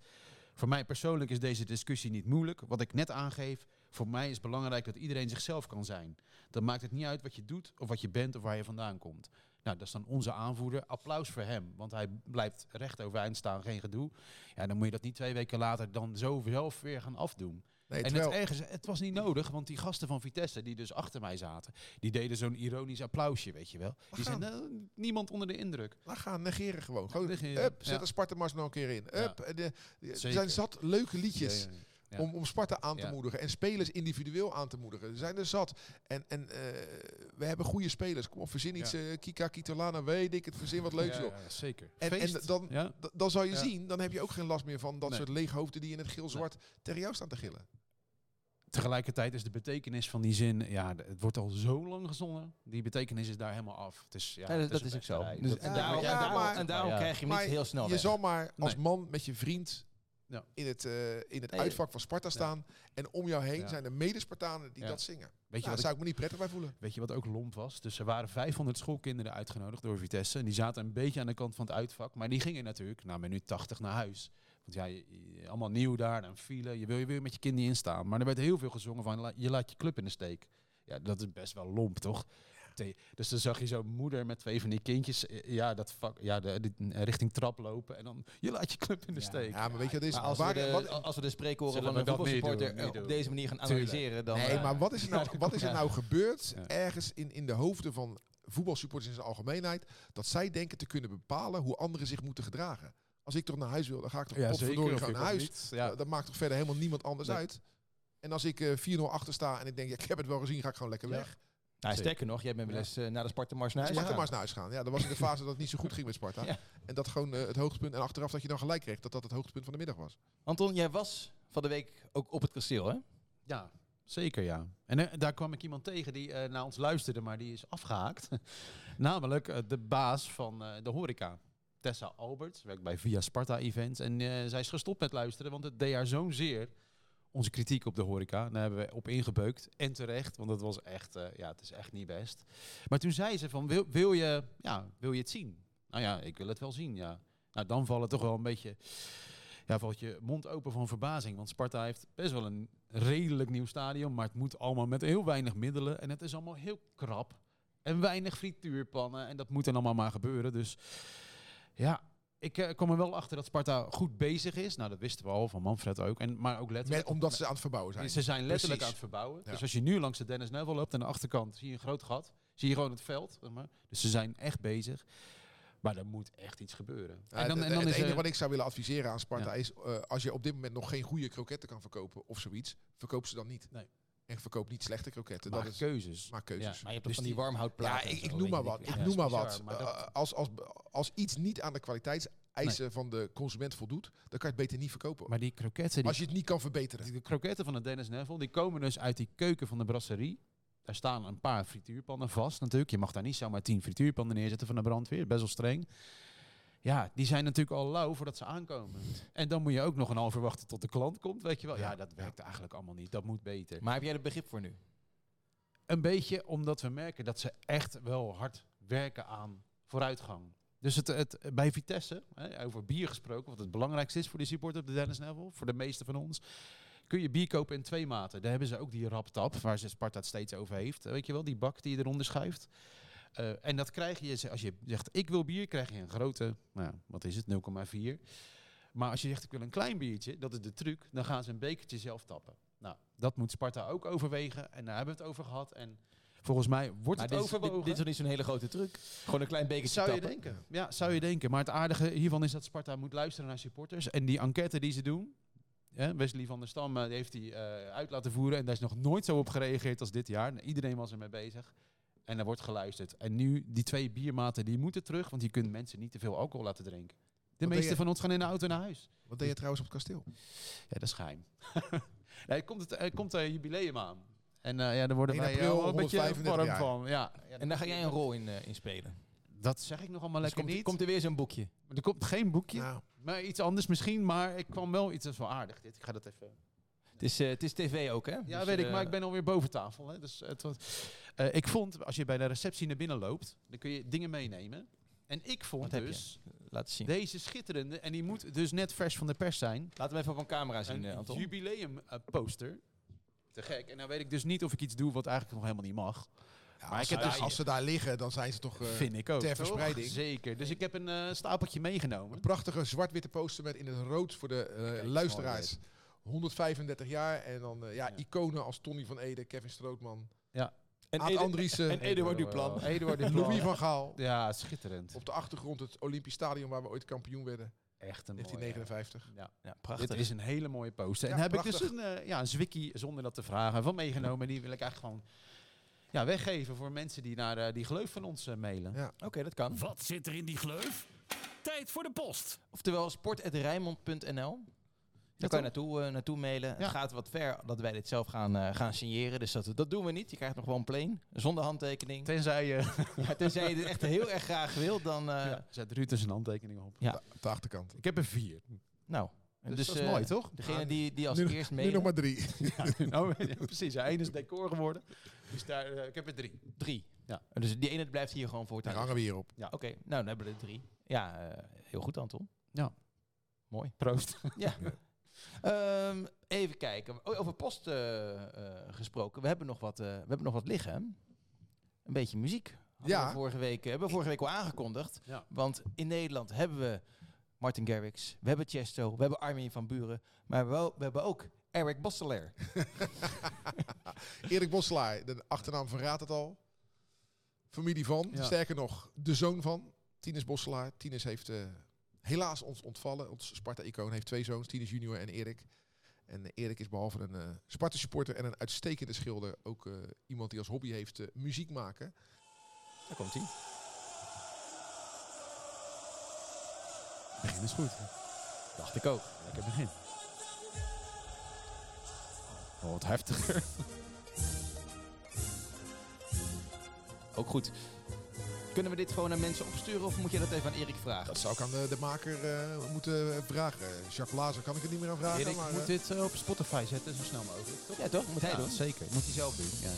Voor mij persoonlijk is deze discussie niet moeilijk. Wat ik net aangeef, voor mij is het belangrijk dat iedereen zichzelf kan zijn. Dan maakt het niet uit wat je doet of wat je bent of waar je vandaan komt. Nou, dat is dan onze aanvoerder. Applaus voor hem, want hij blijft recht overeind staan, geen gedoe. Ja, dan moet je dat niet twee weken later dan zo zelf weer gaan afdoen. Nee, En het e- ergens, het was niet nodig, want die gasten van Vitesse die dus achter mij zaten, die deden zo'n ironisch applausje, weet je wel. Die gaan. zijn nou, niemand onder de indruk. Laat gaan, negeren gewoon. gewoon Negeren, up, zet ja. een Sparta Mars nog een keer in. Up, Ja. en de- de- er Zeker. zijn zat leuke liedjes. Ja. Om, om Sparta aan te Ja. moedigen en spelers individueel aan te moedigen. Er zijn er zat. En, en eh, we hebben goede spelers. Kom op, verzin iets. eh, Kika, Kitolana, weet ik het. Verzin wat leuks, Ja, joh. ja, ja, zeker. En, en Feest. dan, ja? d- dan zal je Ja. zien, dan heb je ook geen last meer van dat Nee. soort leeghoofden die in het geel-zwart tegen jou staan te gillen. Tegelijkertijd is de betekenis van die zin, ja, d- het wordt al zo lang gezongen. Die betekenis is daar helemaal af. Het is, ja, Ja, dat, het dat een is ook zo. wedstrijd. Dus Dat- en ja, daarom, ja, en daarom- maar- en daarom ja. krijg je hem niet Maar heel snel Je weg. zal maar als Nou, Nee. man met je vriend Ja. in het, eh, in het Nee. uitvak van Sparta staan. En om jou heen Ja. zijn er mede-Spartanen die Ja. dat zingen. Weet je, Nou, daar wat zou ik me niet prettig bij voelen. Weet je wat ook lomp was? Dus er waren 500 schoolkinderen uitgenodigd door Vitesse. En die zaten een beetje aan de kant van het uitvak. Maar die gingen natuurlijk nou, na minuut 80 naar huis. Want ja, je- je- allemaal nieuw daar, dan file. Je wil je wil met je kind niet instaan. Maar er werd heel veel gezongen van la- je laat je club in de steek. Ja, dat is best wel lomp, toch? Te- Dus dan zag je zo'n moeder met twee van die kindjes eh, ja, dat vak, ja, de, die- eh, richting trap lopen. En dan, je laat je club in de Ja. steek. Ja, maar weet je wat het is? Maar als we, Waar- de, wat, als we de spreekkoren van Zullen we een dat niet voetbalsporter doen, niet eh, op doen. deze manier gaan Tuurlijk. analyseren, dan... nee, eh, maar wat is er nou, Ja, wat is er ja. nou gebeurd Ja. ergens in, in de hoofden van voetbalsupporters in zijn algemeenheid... dat zij denken te kunnen bepalen hoe anderen zich moeten gedragen? Als ik toch naar huis wil, dan ga ik toch ja, potverdorie Of gewoon ik naar of huis. niet. Ja. Dat- Dat maakt toch verder helemaal niemand anders Nee. uit? En als ik eh, 4-0 achter sta en ik denk, ja, ik heb het wel gezien, ga ik gewoon lekker Ja. weg. nou, Zeker. sterker nog, jij bent wel eens eh, naar de Sparta-mars naar huis Sparta maar gegaan. eens naar huis gaan. Ja, dat was in de fase dat het niet zo goed ging met Sparta. Ja. En dat gewoon eh, het hoogtepunt. En achteraf dat je dan gelijk kreeg dat dat het hoogtepunt van de middag was. Anton, jij was van de week ook op het kasteel, hè? Ja, zeker ja. En eh, daar kwam ik iemand tegen die eh, naar ons luisterde, maar die is afgehaakt. Namelijk eh, de baas van eh, de horeca. Tessa Albert, werkt bij Via Sparta Events. En eh, zij is gestopt met luisteren, want het deed haar zo'n zeer. Onze kritiek op de horeca, daar hebben we op ingebeukt. En terecht, want het was echt, eh, ja, het is echt niet best. Maar toen zei ze van, wil, wil, je, ja, wil je het zien? Nou ja, ik wil het wel zien, ja. Nou, dan vallen toch wel een beetje ja, valt je mond open van verbazing. Want Sparta heeft best wel een redelijk nieuw stadion. Maar het moet allemaal met heel weinig middelen. En het is allemaal heel krap. En weinig frituurpannen. En dat moet dan allemaal maar gebeuren. Dus ja, ik eh, kom er wel achter dat Sparta goed bezig is. Nou, dat wisten we al van Manfred ook. En, maar ook letterlijk. Met, omdat ze aan het verbouwen zijn. Ze zijn letterlijk Precies. aan het verbouwen. Ja. Dus als je nu langs de Dennis Neville loopt aan de achterkant, zie je een groot gat. Zie je gewoon het veld. zeg maar. Dus ze zijn echt bezig. Maar er moet echt iets gebeuren. Ja, het- het er- enige wat ik zou willen adviseren aan Sparta Ja. is, eh, als je op dit moment nog geen goede kroketten kan verkopen of zoiets, verkoop ze dan niet. Nee. En verkoop niet slechte kroketten. maak dat is, keuzes. maak keuzes. Ja, Maar je hebt toch Dus van die die- Ja, warmhoutplaten? en ik, zo, ik weet noem je maar niet wat. meer. Ik Ja. noem maar bizar, wat. maar dat- Eh, als, als, als iets niet aan de kwaliteitseisen van de consument voldoet, dan kan je het beter niet verkopen. Maar die kroketten, die, als je het niet kan verbeteren. die kroketten van de Dennis Neville, die komen dus uit die keuken van de brasserie. Daar staan een paar frituurpannen vast natuurlijk. Je mag daar niet zomaar tien frituurpannen neerzetten van de brandweer. Best wel streng. Ja, die zijn natuurlijk al lauw voordat ze aankomen. En dan moet je ook nog een half uur wachten tot de klant komt, weet je wel. Ja, dat werkt eigenlijk allemaal niet. Dat moet beter. Maar heb jij er begrip voor nu? Een beetje omdat we merken dat ze echt wel hard werken aan vooruitgang. Dus het, het, bij Vitesse, hè, over bier gesproken, wat het belangrijkste is voor die supporter op de Dennis Neville, voor de meeste van ons, kun je bier kopen in twee maten. Daar hebben ze ook die raptap, waar ze Sparta het steeds over heeft. Weet je wel, die bak die je eronder schuift. Eh, en dat krijg je, als je zegt ik wil bier, krijg je een grote, nou, ja, wat is het, 0,4. Maar als je zegt ik wil een klein biertje, dat is de truc, dan gaan ze een bekertje zelf tappen. Nou, dat moet Sparta ook overwegen. En daar hebben we het over gehad. En volgens mij wordt Maar het dit, is- dit, overwogen. dit is nog niet zo'n hele grote truc. Gewoon een klein bekertje Zou je tappen. denken. Ja, zou je denken. Maar het aardige hiervan is dat Sparta moet luisteren naar supporters. En die enquête die ze doen. hè, Wesley van der Stam eh, die heeft die eh, uit laten voeren. En daar is nog nooit zo op gereageerd als dit jaar. En Iedereen was ermee bezig. En er wordt geluisterd. En nu, die twee biermaten, die moeten terug. Want je kunt mensen niet te veel alcohol laten drinken. De Wat deed meeste je- van ons gaan in de auto naar huis. Wat deed je trouwens op het kasteel? Ja, dat is geheim. nee, komt het, er komt een jubileum aan. En eh, ja, daar worden In wij eh, april, wel een beetje 135 warm jaar. van. Ja. Ja, En daar ga jij een rol in, eh, in spelen. Dat zeg ik nog allemaal Dus lekker komt, niet. komt er weer zo'n boekje. Er komt geen boekje. Nou, Maar iets anders misschien, maar ik kwam wel iets dat is wel aardig. Dit, ik ga dat even. Het is, eh, het is tv ook, hè? Ja, Dus, weet ik, eh, maar ik ben alweer boven tafel. Hè, dus het was, Eh, ik vond, als je bij de receptie naar binnen loopt, dan kun je dingen meenemen. En ik vond Wat heb je? dus Laat zien. deze schitterende, en die moet dus net fresh van de pers zijn. Laat hem even op een camera zien, Een eh, Anton. jubileum eh, poster. Te gek. En nou weet ik dus niet of ik iets doe wat eigenlijk nog helemaal niet mag. ja, Maar als, ik ze heb daar, dus- als ze daar liggen, dan zijn ze toch eh, Vind ik ook. ter toch? verspreiding. Zeker. Dus ik heb een eh, stapeltje meegenomen. een prachtige zwart-witte poster met in het rood voor de eh, luisteraars. 135 jaar en dan eh, ja, Ja. iconen als Tony van Ede, Kevin Strootman, En Aad Ede- Andriessen, en Eduard Duplan. Eduard Duplan. Louis van Gaal. Ja, schitterend. Op de achtergrond het Olympisch Stadion waar we ooit kampioen werden. Echt een mooie... 1959. Ja. Ja, Dit prachtig. is een hele mooie poster. En Ja, heb ik dus prachtig. een, eh, ja, een zwikkie, zonder dat te vragen, van meegenomen. Die wil ik eigenlijk gewoon ja, weggeven voor mensen die naar eh, die gleuf van ons eh, mailen. Ja. Oké, dat kan. Wat zit er in die gleuf? Tijd voor de post. Oftewel sport.rijnmond.nl. Daar kan je naartoe, eh, naartoe mailen. Ja. Het gaat wat ver dat wij dit zelf gaan, eh, gaan signeren. Dus dat, dat doen we niet. Je krijgt nog gewoon plain, zonder handtekening. Tenzij je... Ja, tenzij je dit echt heel erg graag wil, dan... eh, ja. Zet Ruud dus een handtekening op. Ja. Ja. Op de achterkant. Ik heb er vier. Nou, Dus, dat is eh, mooi, toch? Ah. Degene die, die als nu nog- eerst Nu nog mailen. maar drie. nou, ja, precies. Ja, één is decor geworden. Dus daar, eh, ik heb er drie. Drie. Ja. En Dus die ene blijft hier gewoon Daar voortaan. hangen we hier op. Oké, nou dan hebben we er drie. Ja, eh, heel goed Anton. Ja. Mooi. Proost. Ja. Ehm, even kijken. O- Over post eh, eh, gesproken. We hebben, nog wat, eh, we hebben nog wat liggen. hè? Een beetje muziek. Hadden Ja. We vorige week, eh, hebben we vorige week al aangekondigd. Ja. Want in Nederland hebben we Martin Garrix. We hebben Chesto. We hebben Armin van Buren. Maar we, we hebben ook Eric Bosselaar. Erik Boslaar, de achternaam verraadt het al. Familie van, Ja. sterker nog, de zoon van Tinus Bosselaar. Tinus heeft eh, helaas ons ontvallen. Ons Sparta-icoon heeft twee zoons, Tinus junior en Erik. En eh, Erik is behalve een eh Sparta-supporter en een uitstekende schilder... ook eh, iemand die als hobby heeft eh, muziek maken. Daar komt hij. Begin is goed. Dacht ik ook. Lekker begin. Oh, wat heftiger. Ook goed. Kunnen we dit gewoon aan mensen opsturen of moet je dat even aan Erik vragen? Dat zou ik aan de, de maker eh, moeten vragen. Jacques Blazer kan ik het niet meer aan vragen. Erik maar, moet eh, dit eh, op Spotify zetten, zo snel mogelijk. Toch? Ja toch? Moet hij Ja, doen? zeker. Moet hij zelf doen. Ja,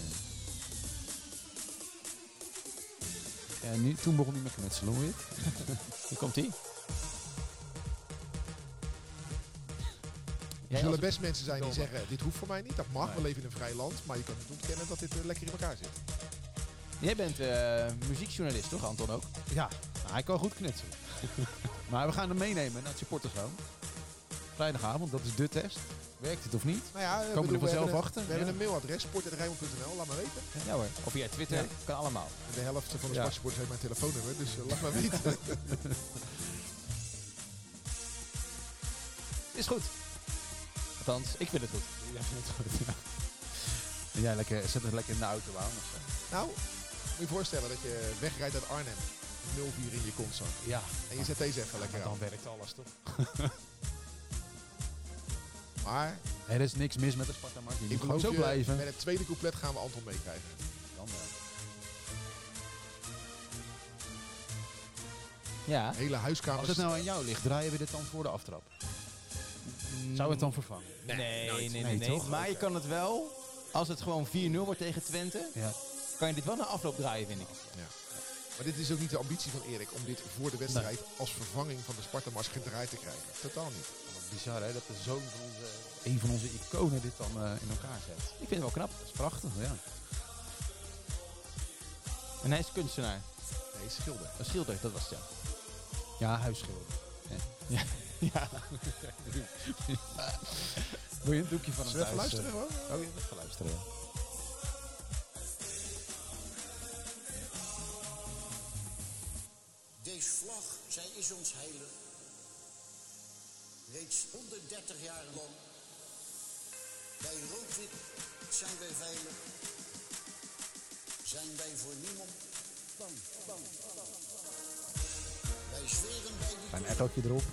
ja. ja nu, toen begon hij met knutselen, hoor je het? Hier komt hij. er zullen best mensen zijn die Domme. zeggen, dit hoeft voor mij niet. Dat mag, Nee. we leven in een vrij land. Maar je kan niet ontkennen dat dit eh, lekker in elkaar zit. Jij bent eh, muziekjournalist, toch Anton ook? Ja, nou, hij kan goed knutselen. maar we gaan hem meenemen naar het supportersroom. Vrijdagavond, dat is de test. Werkt het of niet? Nou ja, eh, Komen bedoel, er vanzelf we hebben, een- achter, We ja. hebben een mailadres, sport.rijmond.nl, laat maar weten. Ja hoor. Of via Twitter. Kan allemaal. De helft van de Ja. Sparta-supporters heeft mijn telefoonnummer, dus eh, laat maar weten. Is goed. Althans, ik vind het goed. Ja, vindt het goed. Ja. En jij lekker, zet het lekker in de auto aan of zo. nou, moet je je voorstellen dat je wegrijdt uit Arnhem, 04 in je kontzak. Ja, En je zet deze even lekker aan. werkt alles toch? Maar Er is niks mis met de Sparta Markt. Je ik moet geloof zo je, blijven. met het tweede couplet gaan we Anton meekrijgen. Dan wel. Ja. Hele Als huiskamers. het nou aan jou ligt, draaien we dit dan voor de aftrap. Zou het dan vervangen? Nee, nee, nee. nee, Nee, toch? Maar je kan het wel. Als het gewoon 4-0 wordt tegen Twente, Ja. kan je dit wel naar afloop draaien, vind ik. nou- Maar dit is ook niet de ambitie van Erik om dit voor de wedstrijd als vervanging van de Sparta-mars gedraaid te krijgen. Totaal niet. Wat Bizar hè, dat de zoon van onze, een van onze iconen dit dan eh, in elkaar zet. Ik vind het wel knap. Dat is prachtig, ja. En hij is kunstenaar. Nee, schilder. Een schilder, dat was het. ja. Ja, huisschilder. Ja. ja. Wil je een doekje van hem Zullen we even thuis, luisteren eh? hoor? Oh, je wilt even luisteren. Deze vlag, zij is ons heilig. Reeds 130 jaar lang. Bij rood-wit zijn wij veilig. Zijn wij voor niemand bang, bang, bang. Wij zweren bij die Een echootje erop. kleur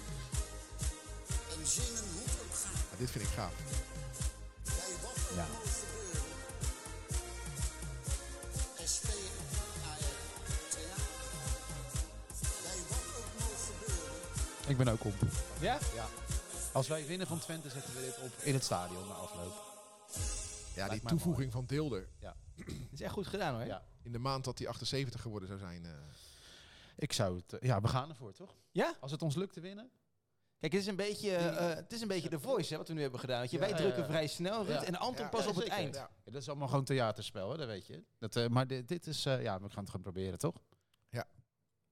en zingen hoe het ook gaat. Ja, dit vind ik gaaf. Bij wat ook Ja. mogen gebeuren. SP, AR, Bij wat ook mogen gebeuren. Ik ben ook op. Ja? Als wij winnen van Twente zetten we dit op in het stadion na afloop. Ja, die mij toevoeging van Deelder. Dat is echt goed gedaan hoor. Ja. In de maand dat hij 78 geworden zou zijn. eh, Ik zou het... eh, Ja, we gaan ervoor, toch? Ja? Als het ons lukt te winnen. Kijk, het is een beetje, eh, eh, het is een beetje de voice hè, wat we nu hebben gedaan. Weet je, Ja, wij ja, drukken ja. vrij snel, Ruud, Ja. en Anton Ja, pas ja, op het zeker. eind. Ja. Ja, dat is allemaal gewoon theaterspel, hè? dat weet je. Dat, eh, maar dit, dit is... eh, ja, we gaan het gewoon proberen, toch? Ja.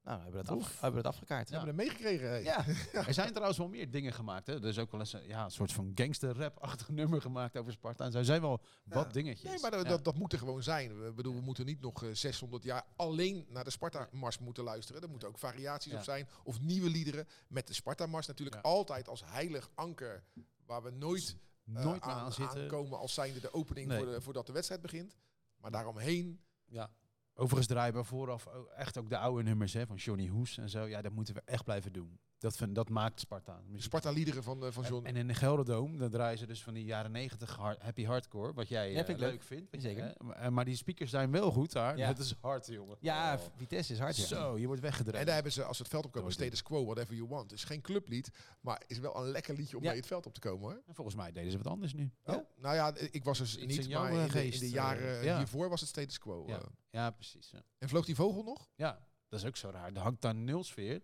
Nou, hebben we dat, Oef. afge- hebben we dat afgekaart. hebben we hem meegekregen. hè? Ja. Er zijn trouwens wel meer dingen gemaakt. Hè. Er is ook wel eens een, ja, een soort van gangster-rap-achtig nummer gemaakt over Sparta. En zo zijn wel wat dingetjes. Nee, maar dat, Ja. dat, dat moet er gewoon zijn. We, bedoel, we moeten niet nog eh, 600 jaar alleen naar de Sparta-mars moeten luisteren. Er moeten ook variaties Ja. op zijn. Of nieuwe liederen. Met de Sparta-mars natuurlijk Ja. Dus altijd als heilig anker. Waar we nooit, eh, Nooit meer aan, aan zitten. aankomen als zijnde de opening Nee. voor de- voordat de wedstrijd begint. Maar daaromheen, Ja. Overigens draaien we vooraf ook echt ook de oude nummers hè, van Johnny Hoes en zo. Ja, dat moeten we echt blijven doen. Dat, vind, dat maakt Sparta. de muziek. Sparta-liederen van, eh, van En, John. en in de Gelderdoom, dan draaien ze dus van die jaren negentig happy hardcore. Wat jij Ja, eh, vind ik leuk. leuk. vindt. weet Zeker. je, hè. Maar- eh, Maar die speakers zijn wel goed daar. Ja. Dat is hard, jongen. Ja, Oh. Vitesse is hard. ja. Zo, je wordt weggedreven. En daar hebben ze, als ze het veld opkomen, Nooit doen. status quo, whatever you want. Het is geen clublied, maar is wel een lekker liedje om Ja. mee het veld op te komen hoor. En volgens mij deden ze wat anders nu. Oh, nou ja, ik was dus Iets niet, in jouw, maar eh, in de, in geest, de eh, jaren ja. hiervoor was het status quo. Ja. eh. Ja, precies. Ja. En vloog die vogel nog? Ja, dat is ook zo raar. Er hangt daar nul sfeer.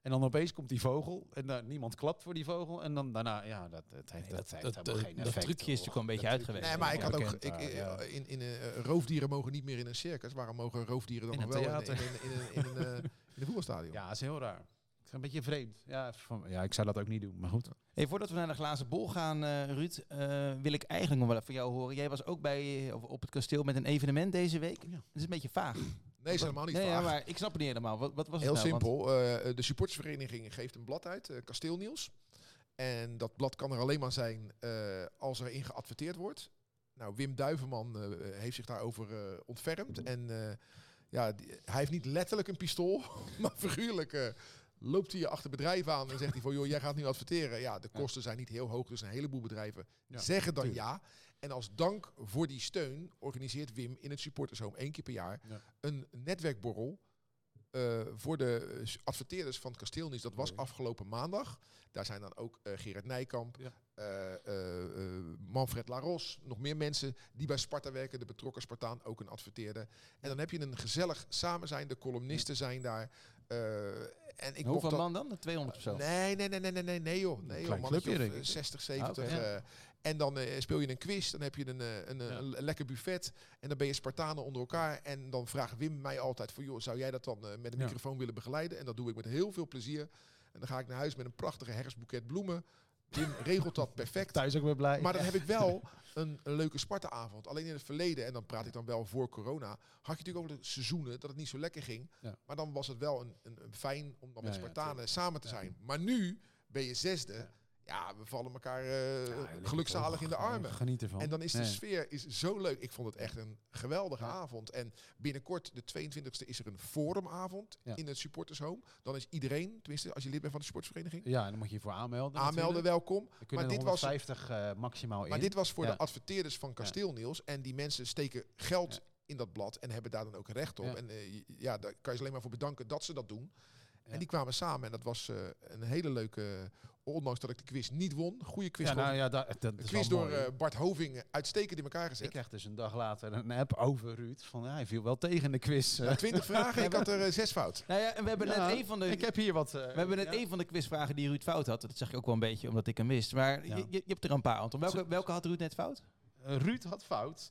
En dan opeens komt die vogel en daar, niemand klapt voor die vogel. En dan daarna, ja, dat, dat heeft, dat, heeft helemaal geen dat effect. trucje is natuurlijk hoor. al een beetje Dat uitgewerkt. Nee, maar ik had ook. bekend Ik, daar, eh, ja. in, in, eh, roofdieren mogen niet meer in een circus. Waarom mogen roofdieren dan In nog een wel in, in, theater. in, in, in, een, eh, in een voetbalstadion? Ja, dat is heel raar. Het is een beetje vreemd. Ja, van- ja, ik zou dat ook niet doen, maar goed. Hey, voordat we naar de glazen bol gaan, eh, Ruud, eh, wil ik eigenlijk nog wel even van jou horen. Jij was ook bij, eh, op- op het kasteel met een evenement deze week. Oh ja. Dat is een beetje vaag. Nee, is helemaal niet nee, ja, vaag. maar ik snap het niet helemaal. Wat, wat was Heel het nou? Want- simpel. eh, de supportersvereniging geeft een blad uit, eh, Kasteelnieuws. En dat blad kan er alleen maar zijn eh, als er in geadverteerd wordt. Nou, Wim Duivenman eh, heeft zich daarover eh, ontfermd. En eh, ja, die- hij heeft niet letterlijk een pistool, maar figuurlijk eh, loopt hij je achter bedrijven aan en zegt hij van joh, jij gaat nu adverteren. Ja, de kosten zijn niet heel hoog, dus een heleboel bedrijven Ja, zeggen dan tuurlijk. ja. En als dank voor die steun organiseert Wim in het supportershome één keer per jaar Ja. een netwerkborrel eh, voor de eh, s- adverteerders van het kasteelnis. Dat was Oké. afgelopen maandag. Daar zijn dan ook eh, Gerard Nijkamp, Ja. eh, eh, eh, Manfred Laros, nog meer mensen die bij Sparta werken. De betrokken Spartaan, ook een adverteerder. En dan heb je een gezellig samen zijn. De columnisten zijn daar. eh, en ik mocht Hoeveel dat- man dan? 200 of zo? Nee, nee, nee, nee, nee, nee, nee joh. Nee, joh. klein Mannetje clubje, of, denk ik. eh, 60, 70. Ah, oké. eh, en dan eh, speel je een quiz, dan heb je een, eh, een, eh, Ja. een le- lekker buffet. En dan ben je Spartanen onder elkaar. En dan vraagt Wim mij altijd van, joh, zou jij dat dan eh, met een Ja. microfoon willen begeleiden? En dat doe ik met heel veel plezier. En dan ga ik naar huis met een prachtige herfstboeket bloemen. Wim regelt dat perfect. Thuis ook weer blij. Maar dan heb ik wel een, een leuke Sparta-avond. Alleen in het verleden, en dan praat ik dan wel voor corona, had je natuurlijk ook wel de seizoenen dat het niet zo lekker ging. Ja. Maar dan was het wel een, een, een fijn om dan met Ja, ja, Spartanen tuurlijk. samen te Ja. zijn. Maar nu ben je zesde. Ja, Ja. we vallen elkaar eh, Ja, lekker gelukzalig toch. in de armen. Ja, Geniet ervan. En dan is de Nee. sfeer is zo leuk. Ik vond het echt een geweldige Ja. avond. En binnenkort, de 22e, is er een forumavond Ja. in het supportershome. Dan is iedereen, tenminste als je lid bent van de sportvereniging, Ja, en dan moet je je voor aanmelden. aanmelden, natuurlijk. welkom. Er kunnen maar dit was- 150 eh, maximaal Maar in. dit was voor Ja. de adverteerders van Kasteel Niels. En die mensen steken geld Ja. in dat blad en hebben daar dan ook recht op. Ja. En eh, j- ja, daar kan je ze alleen maar voor bedanken dat ze dat doen. Ja. En die kwamen samen en dat was eh, een hele leuke, ondanks dat ik de quiz niet won, goede quiz. ja, gewoon. nou ja, da- dat, dat een is quiz wel door mooi. eh, Bart Hoving uitstekend in elkaar Ik gezet. kreeg dus een dag later een app over Ruud. Van, ja, hij viel wel tegen in de quiz. eh. Na twintig vragen, ik had er eh, zes fout. Nou ja, en we hebben Ja, net een van de... ik heb hier wat... eh, we hebben net ja. één van de quizvragen die Ruud fout had. Dat zeg ik ook wel een beetje, omdat ik hem wist. Maar Ja. je, je je hebt er een paar, Anton. Welke, welke had Ruud net fout? Eh, Ruud had fout.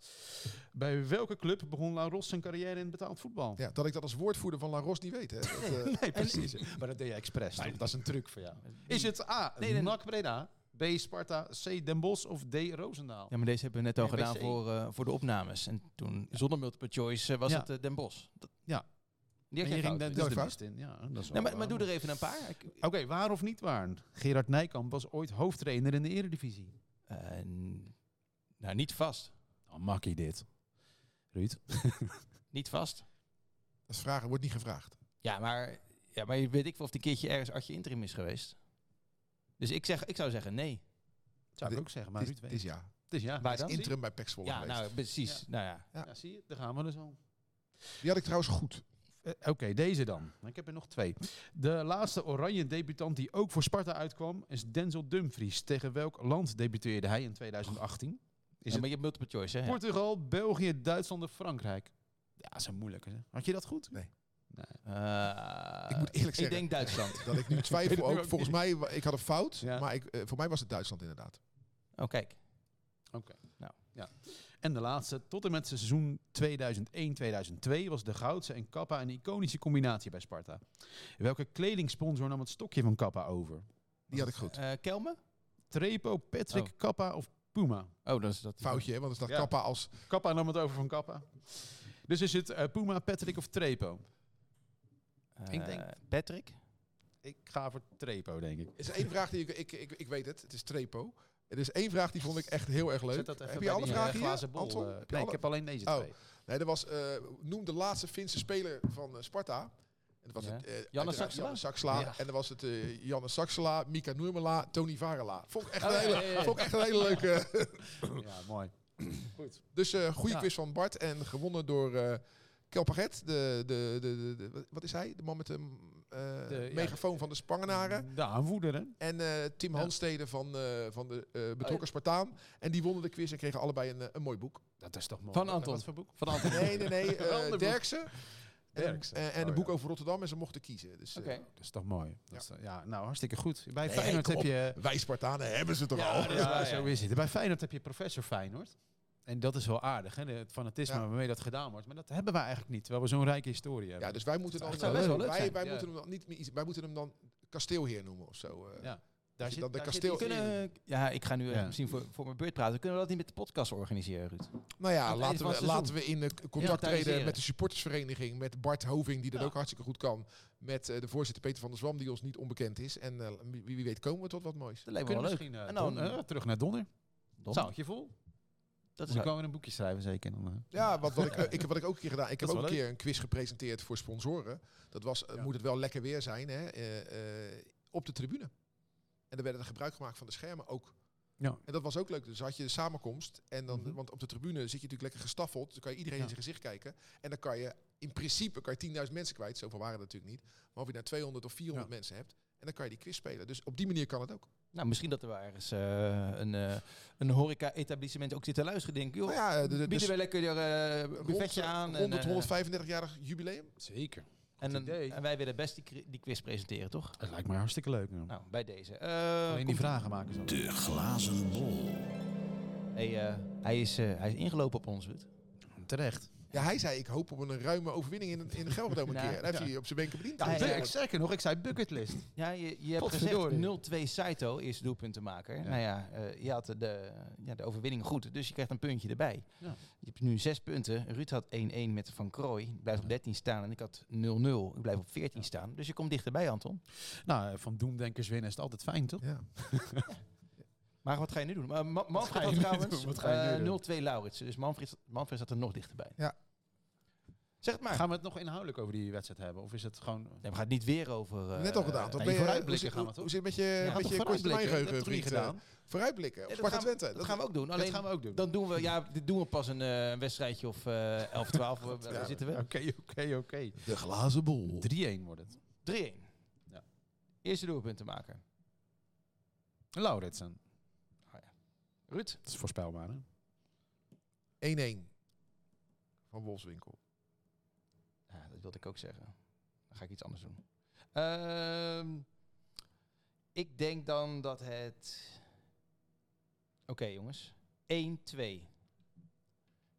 Bij welke club begon Laros zijn carrière in betaald voetbal? Ja, dat ik dat als woordvoerder van La Ros niet weet. Hè. Dat, eh, Nee, precies. maar dat deed je expres. toch? Dat is een truc voor jou. Is het A, Nee, nee, nee. NAC Breda, B, Sparta, C, Den Bosch of D, Roosendaal? Ja, maar deze hebben we net al NBC. gedaan voor, eh, voor de opnames. En toen, zonder multiple choice, eh, was Ja. het eh, Den Bos. Ja. Die had En jij je fout. ging de, Dat dus is de fout. mist in. Ja, dat is Nee, wel eh, maar, waar, maar doe er even een paar. Ik- Oké, waar of niet waar? Gerard Nijkamp was ooit hoofdtrainer in de eredivisie. eh, n- nou, niet vast. Oh, makkie dit. Ruud? Niet vast. dat is vragen, wordt niet gevraagd. Ja, maar, ja, maar weet ik wel of die keertje ergens Artje Interim is geweest. Dus ik, zeg, ik zou zeggen nee. Zou ik Dit- ook zeggen, maar Het is, Ruud het weet. is ja. Het is ja. Waar het is dan? interim. Interim bij Pek Zwolle Ja, geweest. nou, precies. Ja. Nou ja. Ja, zie je, daar gaan we dus al. Die had ik trouwens goed. Eh, Oké, deze dan. Ik heb er nog twee. De laatste oranje debutant die ook voor Sparta uitkwam is Denzel Dumfries. Tegen welk land debuteerde hij in 2018? Is het- maar je hebt multiple choice, hè? Ja. Portugal, België, Duitsland of Frankrijk? Ja, dat is een moeilijke. hè. Had je dat goed? Nee. Eh, Ik moet eerlijk zeggen- Ik denk Duitsland. Dat ik nu Ik weet twijfel het nu ook. ook Volgens niet. mij, wa- ik had een fout. Ja. Maar ik, eh, voor mij was het Duitsland inderdaad. oh, kijk. En de laatste, tot en met seizoen 2001-2002 was de Goudse en Kappa een iconische combinatie bij Sparta. Welke kledingsponsor nam het stokje van Kappa over? Die had ik goed. Eh, Kelme? Trepo, Patrick, Oh. Kappa of Puma? Oh, dat is dat. Foutje, hè, want er staat Ja. Kappa als... Kappa nam het over van Kappa. Dus is het eh, Puma, Patrick of Trepo? Eh, Ik denk- Patrick? Ik ga voor Trepo, denk ik. Er is één vraag die ik, ik, ik, ik weet het, het is Trepo. Er is één vraag die vond ik echt heel erg leuk. Zet dat even heb je bij alle die, eh, vragen hier, glazen bol, Anton? eh, Heb je nee, alle- ik heb alleen deze Oh. twee. Nee, er was, eh, noem de laatste Finse speler van eh, Sparta. En dat was Ja. het, eh, Janne uiteraard Saksela? Janne Saksela. Ja. En dan was het eh Janne Saksela, Mika Noermela, Tony Varela. Vond ik echt, een, Oh, ja, hele, ja, ja, ja. Vond ik echt een hele leuke... Ja, mooi. Dus eh goede Ja. quiz van Bart en gewonnen door eh Kelpaget. De, de, de, de- de- wat is hij? De man met de, mm, eh, De- ja, megafoon van de Spangenaren. Ja, een woeder, hè? En eh, Tim Ja. Oh, Hanstede van, eh, van de eh, betrokken Spartaan. En die wonnen de quiz en kregen allebei een, eh, een mooi boek. Dat is toch mooi. Van Anton. Wat voor boek? Van Anton. Nee, nee, nee. eh, Een ander boek. Derksen. En, Derksen. eh, en Oh, een boek ja. over Rotterdam. En ze mochten kiezen. Dus, eh, Oké. Dat is toch mooi. Ja. Dat is toch- ja. nou hartstikke goed. Bij Nee, Feyenoord kom heb op. je... Wij Spartanen hebben ze toch Ja, al? dat is ja, waar, ja. zo is het. En Bij Feyenoord heb je professor Feyenoord. En dat is wel aardig, hè? de- Het fanatisme Ja. waarmee dat gedaan wordt. Maar dat hebben wij eigenlijk niet, terwijl we zo'n rijke historie hebben. Ja, dus wij moeten dan... Dat zou best wel leuk wij, zijn, wij ja. moeten hem dan niet meer, iets- wij moeten hem dan kasteelheer noemen of zo. eh. Ja. je dan de iets kasteel- in. Kunnen, ja, ik ga nu eh, Ja. misschien voor, voor mijn beurt praten. Kunnen we dat niet met de podcast organiseren, Ruud? Nou ja, het einde laten van het we, seizoen. laten we in eh, Ja, contact treden organiseren. met de supportersvereniging. Met Bart Hoving, die dat Ja. ook hartstikke goed kan. Met eh, de voorzitter Peter van der Zwam, die ons niet onbekend is. En eh, wie, wie weet komen we tot wat moois. Dat lijkt me Kunnen wel leuk. misschien eh, En dan- Don- eh, terug naar Donner. Don? Zaaltje vol. dat is Dus dan leuk. komen we een boekje schrijven zeker. Dan, eh. Ja, wat, wat, ik, eh, ik, wat ik ook een keer gedaan. Ik Dat heb is ook een wel keer een quiz gepresenteerd voor sponsoren. Dat was, eh, Ja. moet het wel lekker weer zijn, hè? eh, eh, op de tribune. En er werd er gebruik gemaakt van de schermen ook. Ja. En dat was ook leuk. Dus had je de samenkomst. En dan, Mhm. Want op de tribune zit je natuurlijk lekker gestaffeld. Dan kan je iedereen Ja. in zijn gezicht kijken. En dan kan je in principe kan je 10.000 mensen kwijt. Zoveel waren er natuurlijk niet. Maar of je nou 200 of 400 Ja. mensen hebt. En dan kan je die quiz spelen. Dus op die manier kan het ook. Nou, misschien dat er wel ergens eh, een, eh, een horeca-etablissement ook zit te luisteren. Denk, joh, Nou ja, de, de, bieden dus wij lekker eh rond- buffetje aan. rond het en, eh, 135-jarig jubileum. Zeker. en, een- idee. en wij willen best die, cri- die quiz presenteren, toch? Dat lijkt me hartstikke leuk. man. Nou, bij deze. Eh, Alleen die komt- vragen maken zo. De glazen bol. Hey, eh, hij, is, eh, hij is ingelopen op ons, Ruud. Terecht. Ja, hij zei ik hoop op een ruime overwinning in, in de Gelredome een Nou, keer. En hij heeft ja. hij op zijn Eh, benken bediend. Ja, Dat is ja, Zeker leuk. Sterker nog, ik zei bucketlist. Ja, je, je hebt Potverdorie. gezegd 0-2 Saito is doelpuntenmaker. Ja. Nou ja, eh, je had de, ja, de overwinning goed, dus je krijgt een puntje erbij. Ja. Je hebt nu zes punten. Ruud had 1-1 met Van Krooi. Ik blijf op 13 staan en ik had 0-0. Ik blijf op 14 staan. Dus je komt dichterbij, Anton. Nou, eh, van doemdenkers winnen is het altijd fijn, toch? Ja. Maar wat ga je nu doen? Maar Ma- Manfred ga je had nu trouwens doen? Wat ga je nu eh, doen? 0-2 Lauritsen. Dus Manfred, Manfred zat er nog dichterbij. Ja. Zeg het maar. Gaan we het nog inhoudelijk over die wedstrijd hebben? Of is het gewoon... Nee, we gaan het niet weer over... eh, Net al gedaan. nee, toch? Ben je, vooruitblikken hoe zit- gaan we Hoe zit het met je, Ja, met toch je korte vooruitblikken? Dat termijngeheugen, hebben we niet Friet? gedaan. Vooruitblikken. Ja, Of dat, Sparta gaan we, Twente. dat gaan we ook doen. Dat Alleen gaan we ook doen. Dan doen we, ja, dit doen we pas een eh, een wedstrijdje of eh 11, 12. We- Daar Ja, zitten we. Oké, oké, oké. De glazen bol. 3-1 wordt het. 3-1. Ja. Eerste doelpuntenmaker. Lauritsen. Ruud. Dat is voorspelbaar, hè? 1-1. Van Wolfswinkel. Ja, dat wilde ik ook zeggen. Dan ga ik iets anders doen. Ehm, ik denk dan dat het... Oké jongens. 1-2.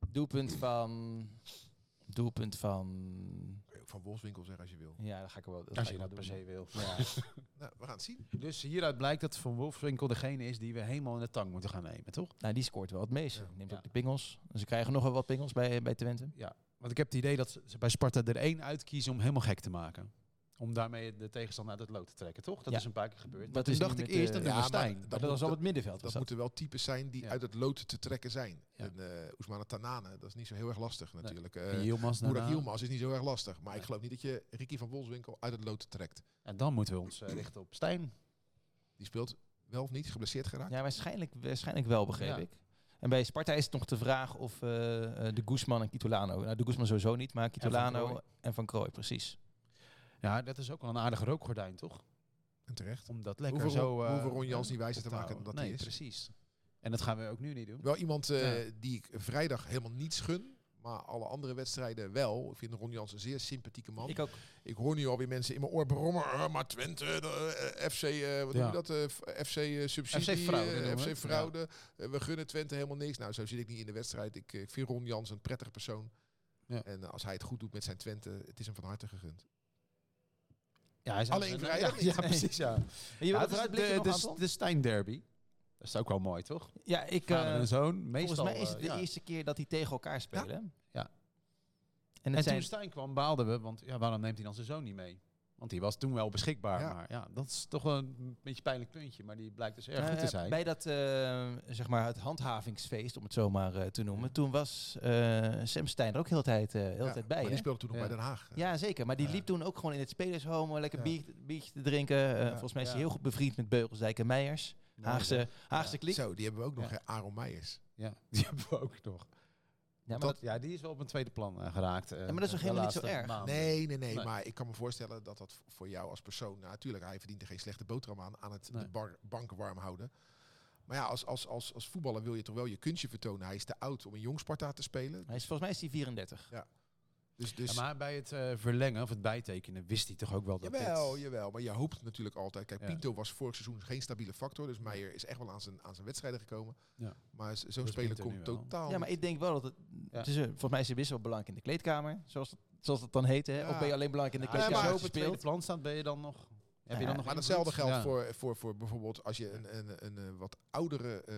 Doelpunt van... Doelpunt van... Kan je ook Van Wolfswinkel zeggen als je wil. Ja, dat ga ik wel, dat Als ga je ik wel dat per doen. se wil. Ja. Nou, we gaan het zien. Dus hieruit blijkt dat Van Wolfswinkel degene is die we helemaal in de tang moeten gaan nemen, toch? Nou, die scoort wel het meeste. Ja. Neemt Ja. ook de pingels. Ze krijgen nog wel wat pingels bij, bij Twente. Want ik heb het idee dat ze- ze bij Sparta er één uitkiezen om helemaal gek te maken. Om daarmee de tegenstander uit het lood te trekken, toch? Dat Ja. is een paar keer gebeurd. Dat toen is dacht nu ik met, eerst eh, dat ja, ja, maar Stijn. dat Maar dat moet- was al het middenveld. Dat was dat. moeten wel types zijn die Ja. uit het lood te trekken zijn. Ja. En eh Oesmane Tanane, dat is niet zo heel erg lastig natuurlijk. Eh Die Yilmaz Burak daarna. Yilmaz is niet zo erg lastig. Maar ik Ja. geloof niet dat je Ricky van Wolfswinkel uit het lood trekt. En dan moeten we ons eh, richten op Stijn. Die speelt wel of niet geblesseerd geraakt. Ja, waarschijnlijk, waarschijnlijk wel, begreep Ja. ik. En bij Sparta is het nog de vraag of eh, eh, de Guzman en Kitolano... Nou, de Guzman sowieso niet, maar Kitolano en Krooi. Van, Krooi, precies. Ja, dat is ook wel een aardige rookgordijn, toch? En terecht. Om dat lekker Hoeven Ron- zo... eh, hoeven Ron Jans niet wijzer op te maken houden. dan dat nee, hij is. precies. En dat gaan we ook nu niet doen. Wel iemand eh, Ja. die ik vrijdag helemaal niets gun. Maar alle andere wedstrijden wel. Ik vind Ron Jans een zeer sympathieke man. Ik, Ik ook. hoor nu alweer mensen in mijn oor brommen. "Ah, maar Twente, de, eh, FC, eh, wat Ja. noem je dat? Eh, f- FC eh, subsidie, FC fraude eh, noemen we FC het. fraude. Eh, we gunnen Twente helemaal niks. Nou, zo zit ik niet in de wedstrijd. Ik, eh, vind Ron Jans een prettige persoon. Ja. En eh, als hij het goed doet met zijn Twente, het is hem van harte gegund. Ja, hij is Alleen aan- vrijdag Ja, niet. ja, precies, ja. En je Ja, wil het het is vooruitblikken nog, de, Anton? de, de Stijn Derby. Dat is ook wel mooi, toch? Ja, ik... eh, Vader en zoon. Meestal, volgens mij is eh, het de ja. eerste keer dat die tegen elkaar spelen. Ja. En, het En zijn, toen Stijn kwam, baalden we, want ja, waarom neemt hij dan zijn zoon niet mee? Want die was toen wel beschikbaar. Ja. Maar ja, dat is toch wel een beetje pijnlijk puntje. Maar die blijkt dus erg Nou goed te ja, zijn. Bij dat, eh, zeg maar, het handhavingsfeest, om het zo maar eh, te noemen. Toen was eh, Sam Stein er ook heel de tijd, eh, heel de Ja, tijd maar bij. die hè? speelde toen nog Ja. bij Den Haag. Ja, zeker. Maar die Ja. liep toen ook gewoon in het spelershome lekker Ja. bier- biertje te drinken. Eh, volgens mij is hij ja. heel goed bevriend met Beugelsdijk en Meijers. Haagse, Haagse klik. Zo, die hebben we ook nog. Ja. hè. Aaron Meijers. Ja, die hebben we ook nog. Ja, maar dat, dat, ja, die is wel op een tweede plan eh, geraakt. eh, maar dat is toch de helemaal niet zo laatste erg? maanden. Nee, nee, nee, Nee. Maar ik kan me voorstellen dat dat v- voor jou als persoon... nou, Natuurlijk, hij verdient er geen slechte boterham aan. Aan het Nee. de bar- bank warm houden. Maar ja, als, als, als, als voetballer wil je toch wel je kunstje vertonen. Hij is te oud om een jong Sparta te spelen. hij is, volgens mij is hij 34. Dus, dus Ja, maar bij het eh, verlengen of het bijtekenen wist hij toch ook wel dat jawel, dit... jawel. Maar je hoopt natuurlijk altijd. Kijk, Ja. Pinto was vorig seizoen geen stabiele factor. Dus Meijer is echt wel aan zijn, aan zijn wedstrijden gekomen. Ja. Maar z- zo'n Pinto speler nu komt wel. totaal Ja, maar ik denk wel dat het... Ja. het is, eh, volgens mij is hij wisselbelangrijk in de kleedkamer. Zoals dat, zoals dat dan heette. Hè? Ja. Of ben je alleen belangrijk in de Ja, maar als kleedkamer je als je op het tweede speelt? plan staat, ben je dan nog... Heb je Ja, dan nog Maar invloed? datzelfde geldt Ja. voor, voor, voor bijvoorbeeld als je een, een, een, eh, wat oudere eh,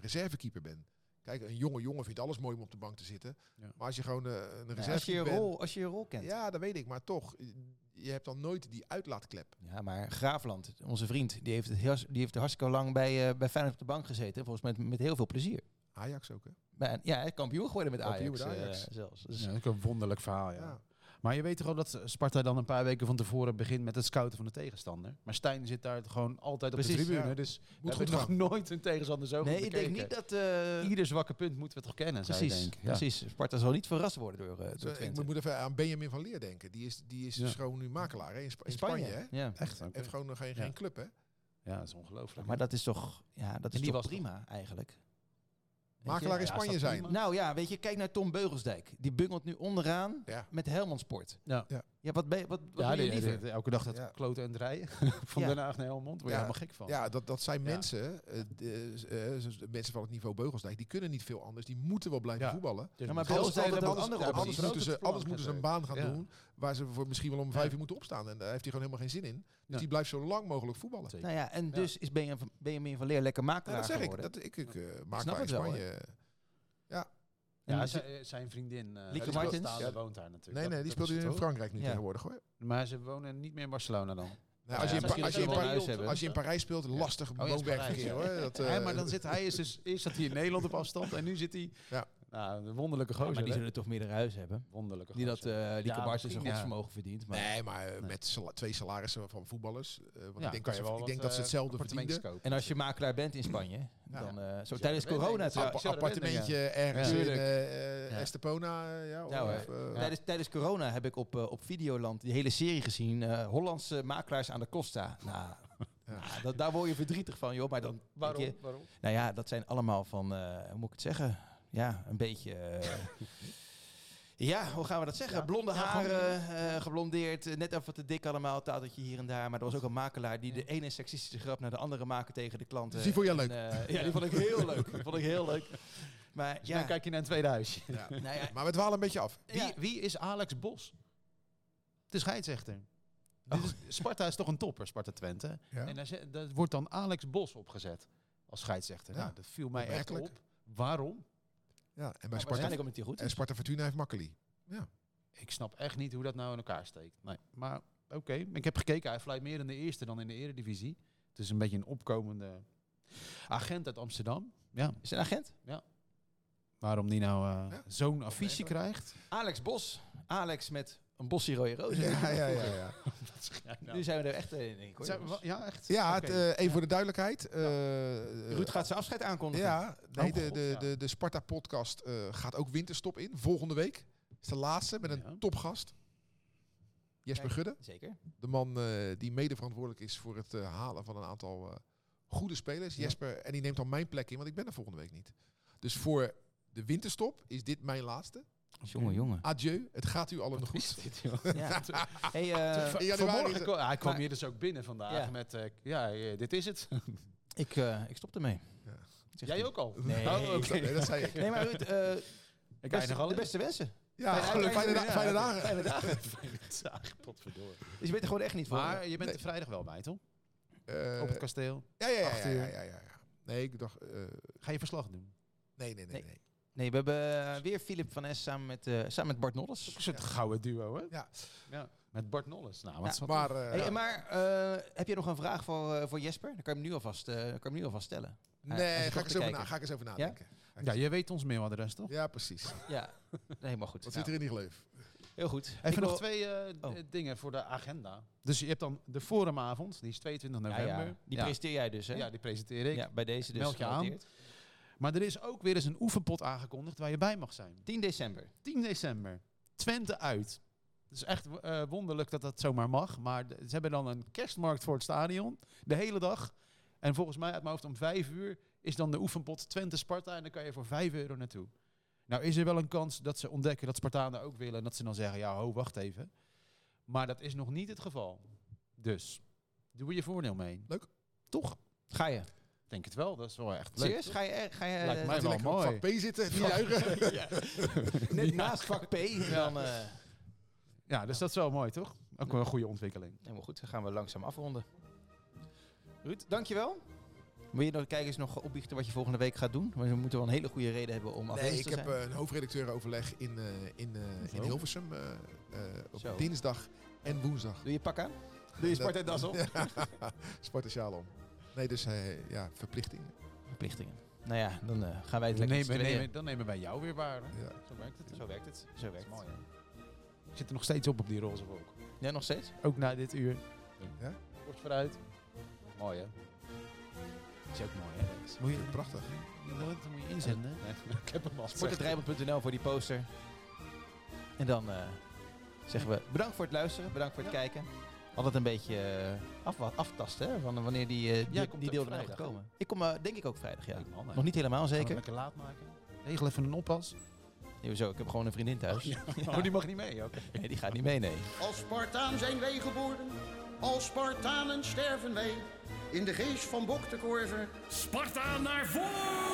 reservekeeper bent. Kijk, een jonge jongen vindt alles mooi om op de bank te zitten. Ja. Maar als je gewoon eh, een Ja, als, je je reservekeeper bent... rol, als je je rol kent. Ja, dat weet ik. Maar toch, eh, je hebt dan nooit die uitlaatklep. Ja, maar Graafland, onze vriend, die heeft, het heel, die heeft hartstikke lang bij, eh, bij Feyenoord op de bank gezeten. Volgens mij met, met heel veel plezier. Ajax ook, hè? Maar, ja, hij is kampioen geworden met Ajax, Kampioen met eh, Ajax. zelfs. Dus, Ja, dat is ook een wonderlijk verhaal, ja. Ja. Maar je weet toch al dat Sparta dan een paar weken van tevoren begint met het scouten van de tegenstander. Maar Stijn zit daar gewoon altijd op de Precies, tribune. ja. Dus we Moet hebben goed nog gaan. nooit een tegenstander zo nee, goed ik denk bekeken. niet dat... eh, Ieder zwakke punt moeten we toch kennen, zou je precies, denken. Ja. precies. Sparta zal niet verrast worden door, eh, door Zo, ik Twente. moet, moet even aan Benjamin van Leer denken. Die is, die is Ja. gewoon nu makelaar hè? In, Sp- in In Spanje, hè? Ja. Echt? Heeft gewoon nog geen, Ja. geen club, hè? Ja, dat is ongelooflijk. Maar dat is toch, ja, dat is die toch was prima eigenlijk. Weet Makelaar je? in ja, is Spanje dat zijn. prima? Nou ja, weet je, kijk naar Tom Beugelsdijk. Die bungelt nu onderaan Ja. met Helmond Sport. Ja. Ja. Ja, wat ben je, wat, wat ja, wil je die- die- liever? die- elke dag dat Ja. kloten en rijden. van Ja. Den Haag naar Helmond. Word je Ja. helemaal gek van. Ja, dat, dat zijn Ja. mensen, eh, de- eh, z- de mensen van het niveau Beugelsdijk, die kunnen niet veel anders. Die moeten wel blijven Ja. voetballen. Dus Ja, maar moet- bij ons anders- zijn er anders- wel andere ja, opties. precies. Anders moeten, ze, anders moeten ze een baan gaan Ja. doen waar ze voor misschien wel om vijf uur moeten opstaan. En daar heeft hij gewoon helemaal geen zin in. Dus die blijft zo lang mogelijk voetballen. Zeker. Nou ja, en Ja. dus is Benjamin van- Benjamin van Leer lekker Ja, makelaar dat zeg ik. geworden. Dat, ik ik eh, maak snap maar het in wel, Spanje. En Ja, die zit- zijn- zijn vriendin, eh, Lieke die Martens? Spaanse Ja. woont daar natuurlijk. nee, Dat- nee, die dat is speelt nu het in ook. Frankrijk nu Ja. tegenwoordig hoor. Maar ze wonen niet meer in Barcelona dan. Nou, als, ja, je in Pa- misschien als, je in dat ze wel Pa- een huis hebben. als je in Parijs speelt, lastig ja, het is woonwerkverkeer Parijs, hoor. Dat, Hé, eh, maar dan zit hij is dus eerst zat hij in Nederland op afstand en nu zit hij. Ja. Nou, een wonderlijke gozer. maar die hè? zullen toch meerdere huis hebben. wonderlijke Die dat gozer. eh die Ja, ja, zijn misschien, ja. godsvermogen verdient. Maar. Nee, maar eh, met sala- twee salarissen van voetballers. eh, want Ja, ik denk, kan dat, je wel ik wat, denk dat ze eh, hetzelfde appartementjes verdienden. kopen. En als je makelaar bent in Spanje, Ja. dan eh, zo Ja, tijdens dat weet corona... ik. trouw- Appa- Appa- appartementje ergens Ja. in Tuurlijk. eh, eh, Ja. Estepona. eh, Ja, Nou, of, eh, Tijdens, tijdens corona heb ik op, eh, op Videoland die hele serie gezien. eh, Hollandse makelaars aan de Costa. Nou, Ja. nou, dat, daar word je verdrietig van, joh. Maar dan, denk Waarom? je- Waarom? nou ja, dat zijn allemaal van, eh, hoe moet ik het zeggen? Ja, een beetje... eh, ja, hoe gaan we dat zeggen? Ja. Blonde Ja, gewoon- haren, eh, geblondeerd, eh, net even wat te dik allemaal, tadeltje hier en daar. Maar er was ook een makelaar die de ene seksistische grap naar de andere maakte tegen de klanten. Dus die vond jij En, leuk? eh, ja, die vond ik heel leuk. Die vond ik heel leuk. Maar Dus dan ja, kijk je naar een tweede huisje. ja. nou ja, Maar we dwalen een beetje af. Wie, Ja. wie is Alex Bos? De scheidsrechter. Dit is, Sparta is toch een topper, Sparta Twente. Ja. En daar, zet- daar wordt dan Alex Bos opgezet als scheidsrechter. Ja. Nou, dat viel mij echt op. Opmerkelijk. Waarom? Ja, en bij maar Sparta, waarschijnlijk omdat hij goed en is. Sparta Fortuna heeft Makkeli. Ik snap echt niet hoe dat nou in elkaar steekt. Nee. Maar oké, ik heb gekeken. Hij fluit meer in de eerste dan in de eredivisie. Het is een beetje een opkomende agent uit Amsterdam. Ja, Is hij een agent? waarom die nou eh, Ja. zo'n affiche krijgt. Alex Bos. Alex met een bossie rode rozen. Ja, ja, ja. ja. Nu zijn we er echt eh, in. Ik hoor, Zijn we- jongens. ja, echt. Ja, Oké. het, eh, even voor de duidelijkheid. eh, Ruud gaat zijn afscheid aankondigen. Ja, nee, Oh, de, God, de, ja. de, de Sparta-podcast eh, gaat ook winterstop in. Volgende week. Het is de laatste met een Ja. topgast. Jesper Kijk. Gudde. Zeker. De man eh, die mede verantwoordelijk is voor het eh, halen van een aantal eh, goede spelers. Ja. Jesper, en die neemt dan mijn plek in, want ik ben er volgende week niet. Dus voor de winterstop is dit mijn laatste. Oké. Jongen, jongen. Adieu, het gaat u allen nog goed. Ja. Hey, eh, In januari is Vanmorgen het- kwam- hij kwam Maar- hier dus ook binnen vandaag Ja. met, eh, ja, eh, dit is het. ik, eh, ik stop ermee. Ja. Zegt hij. Jij ook al? Nee. Oh, oké. Nee, dat zei ik. Nee, maar Ruud, eh Ik beste- eindig al de in. beste wensen. Ja, Fijne- fijne, da- ja, fijne dagen. Fijne dagen. Potverdorie. Dus je weet er gewoon echt niet van. Maar je bent Nee. er vrijdag wel bij, toch? Eh, Op het kasteel. ja, ja, ja, acht ja, ja, uur. ja, ja. Nee, ik dacht... eh, Ga je verslag doen? nee, nee, nee, Nee. nee. Nee, we hebben eh, weer Philip van S samen met, eh, samen met Bart Nolles. Een soort gouden duo, hè? Ja. ja. Met Bart Nolles. Nou, Ja. wat ja. Maar eh, Hey, Maar eh, heb je nog een vraag voor, eh, voor Jesper? Dan kan je hem nu alvast, eh, kan je hem nu alvast stellen. nee, hij zit ga, toch ik eens te over kijken. na, ga ik eens over nadenken. ja, je weet ons mailadres, toch? Ja, precies. Ja, nee, maar goed. Wat Nou, zit er in die gleuf? heel goed. Ik Even nog wil- twee eh, d- Oh. dingen voor de agenda. Dus je hebt dan de forumavond, die is 22 Ja, november. ja, Die presenteer jij dus, hè? Ja, die presenteer ik. Ja, bij deze dus. Meld je aan. genoteerd. Maar er is ook weer eens een oefenpot aangekondigd waar je bij mag zijn. 10 december. 10 december, Twente uit. Het is echt eh, wonderlijk dat dat zomaar mag. Maar de- ze hebben dan een kerstmarkt voor het stadion, de hele dag. En volgens mij uit mijn hoofd om 5 uur is dan de oefenpot Twente-Sparta. En dan kan je voor 5 euro naartoe. Nou is er wel een kans dat ze ontdekken dat Spartanen ook willen. En dat ze dan zeggen, ja ho, wacht even. Maar dat is nog niet het geval. Dus, doe je voordeel mee. Leuk. Toch? Ga je? Denk het wel, dat is wel echt leuk. Serieus? Ga je? eh, Ga je Lijkt eh, mij Gaat hij wel lekker op mooi. vak P zitten? Niet juichen? net naast vak P. En dan, eh, Ja, dus dat is wel mooi, toch? Ook wel een goede ontwikkeling. helemaal goed, dan gaan we langzaam afronden. Ruud, dankjewel. Wil je de kijkers nog opbiechten wat je volgende week gaat doen? Want we moeten wel een hele goede reden hebben om Nee, afwezig ik te heb zijn. eh, een hoofdredacteurenoverleg in, eh, in, eh, Zo. in Hilversum eh, eh, op Zo. dinsdag en eh, woensdag. Doe je pak aan? Doe je Sparta das op? Sparta sjaal om. Nee, dus eh, ja, verplichtingen. Verplichtingen. Nou ja, dan eh, gaan wij het lekker met Dan nemen, z'n tweeën. nemen- dan nemen wij jou weer waar. hè? Ja. Zo werkt het. Zo werkt het. Zo Dat werkt is het. mooi, hè? Ik zit er nog steeds op op die roze wolk. Ja, nog steeds? Ook na dit uur. Ja? Kort vooruit. Mooi, hè? Is ook mooi, hè? Dat is- Moet je prachtig. Dat moet je inzenden. Nee, ik heb hem al Sportdrijven.nl voor die poster. En dan eh, zeggen we bedankt voor het luisteren, bedankt voor het kijken. Altijd een beetje eh, afwa- aftasten hè, van wanneer die, eh, Jij die, komt die ook deel er gaat vrijdag, komen. Ik kom eh, denk ik ook vrijdag, ja. Leuk man, hè? Nog niet helemaal Gaan we hem zeker. Lekker laat maken. Regel even een oppas. Nee, zo, ik heb gewoon een vriendin thuis. Oh, die mag niet mee, oké. Nee, die gaat niet mee, nee. Als Spartaan zijn wij geboren, als Spartanen sterven wij. In de geest van Bok de Korver Sparta naar voren!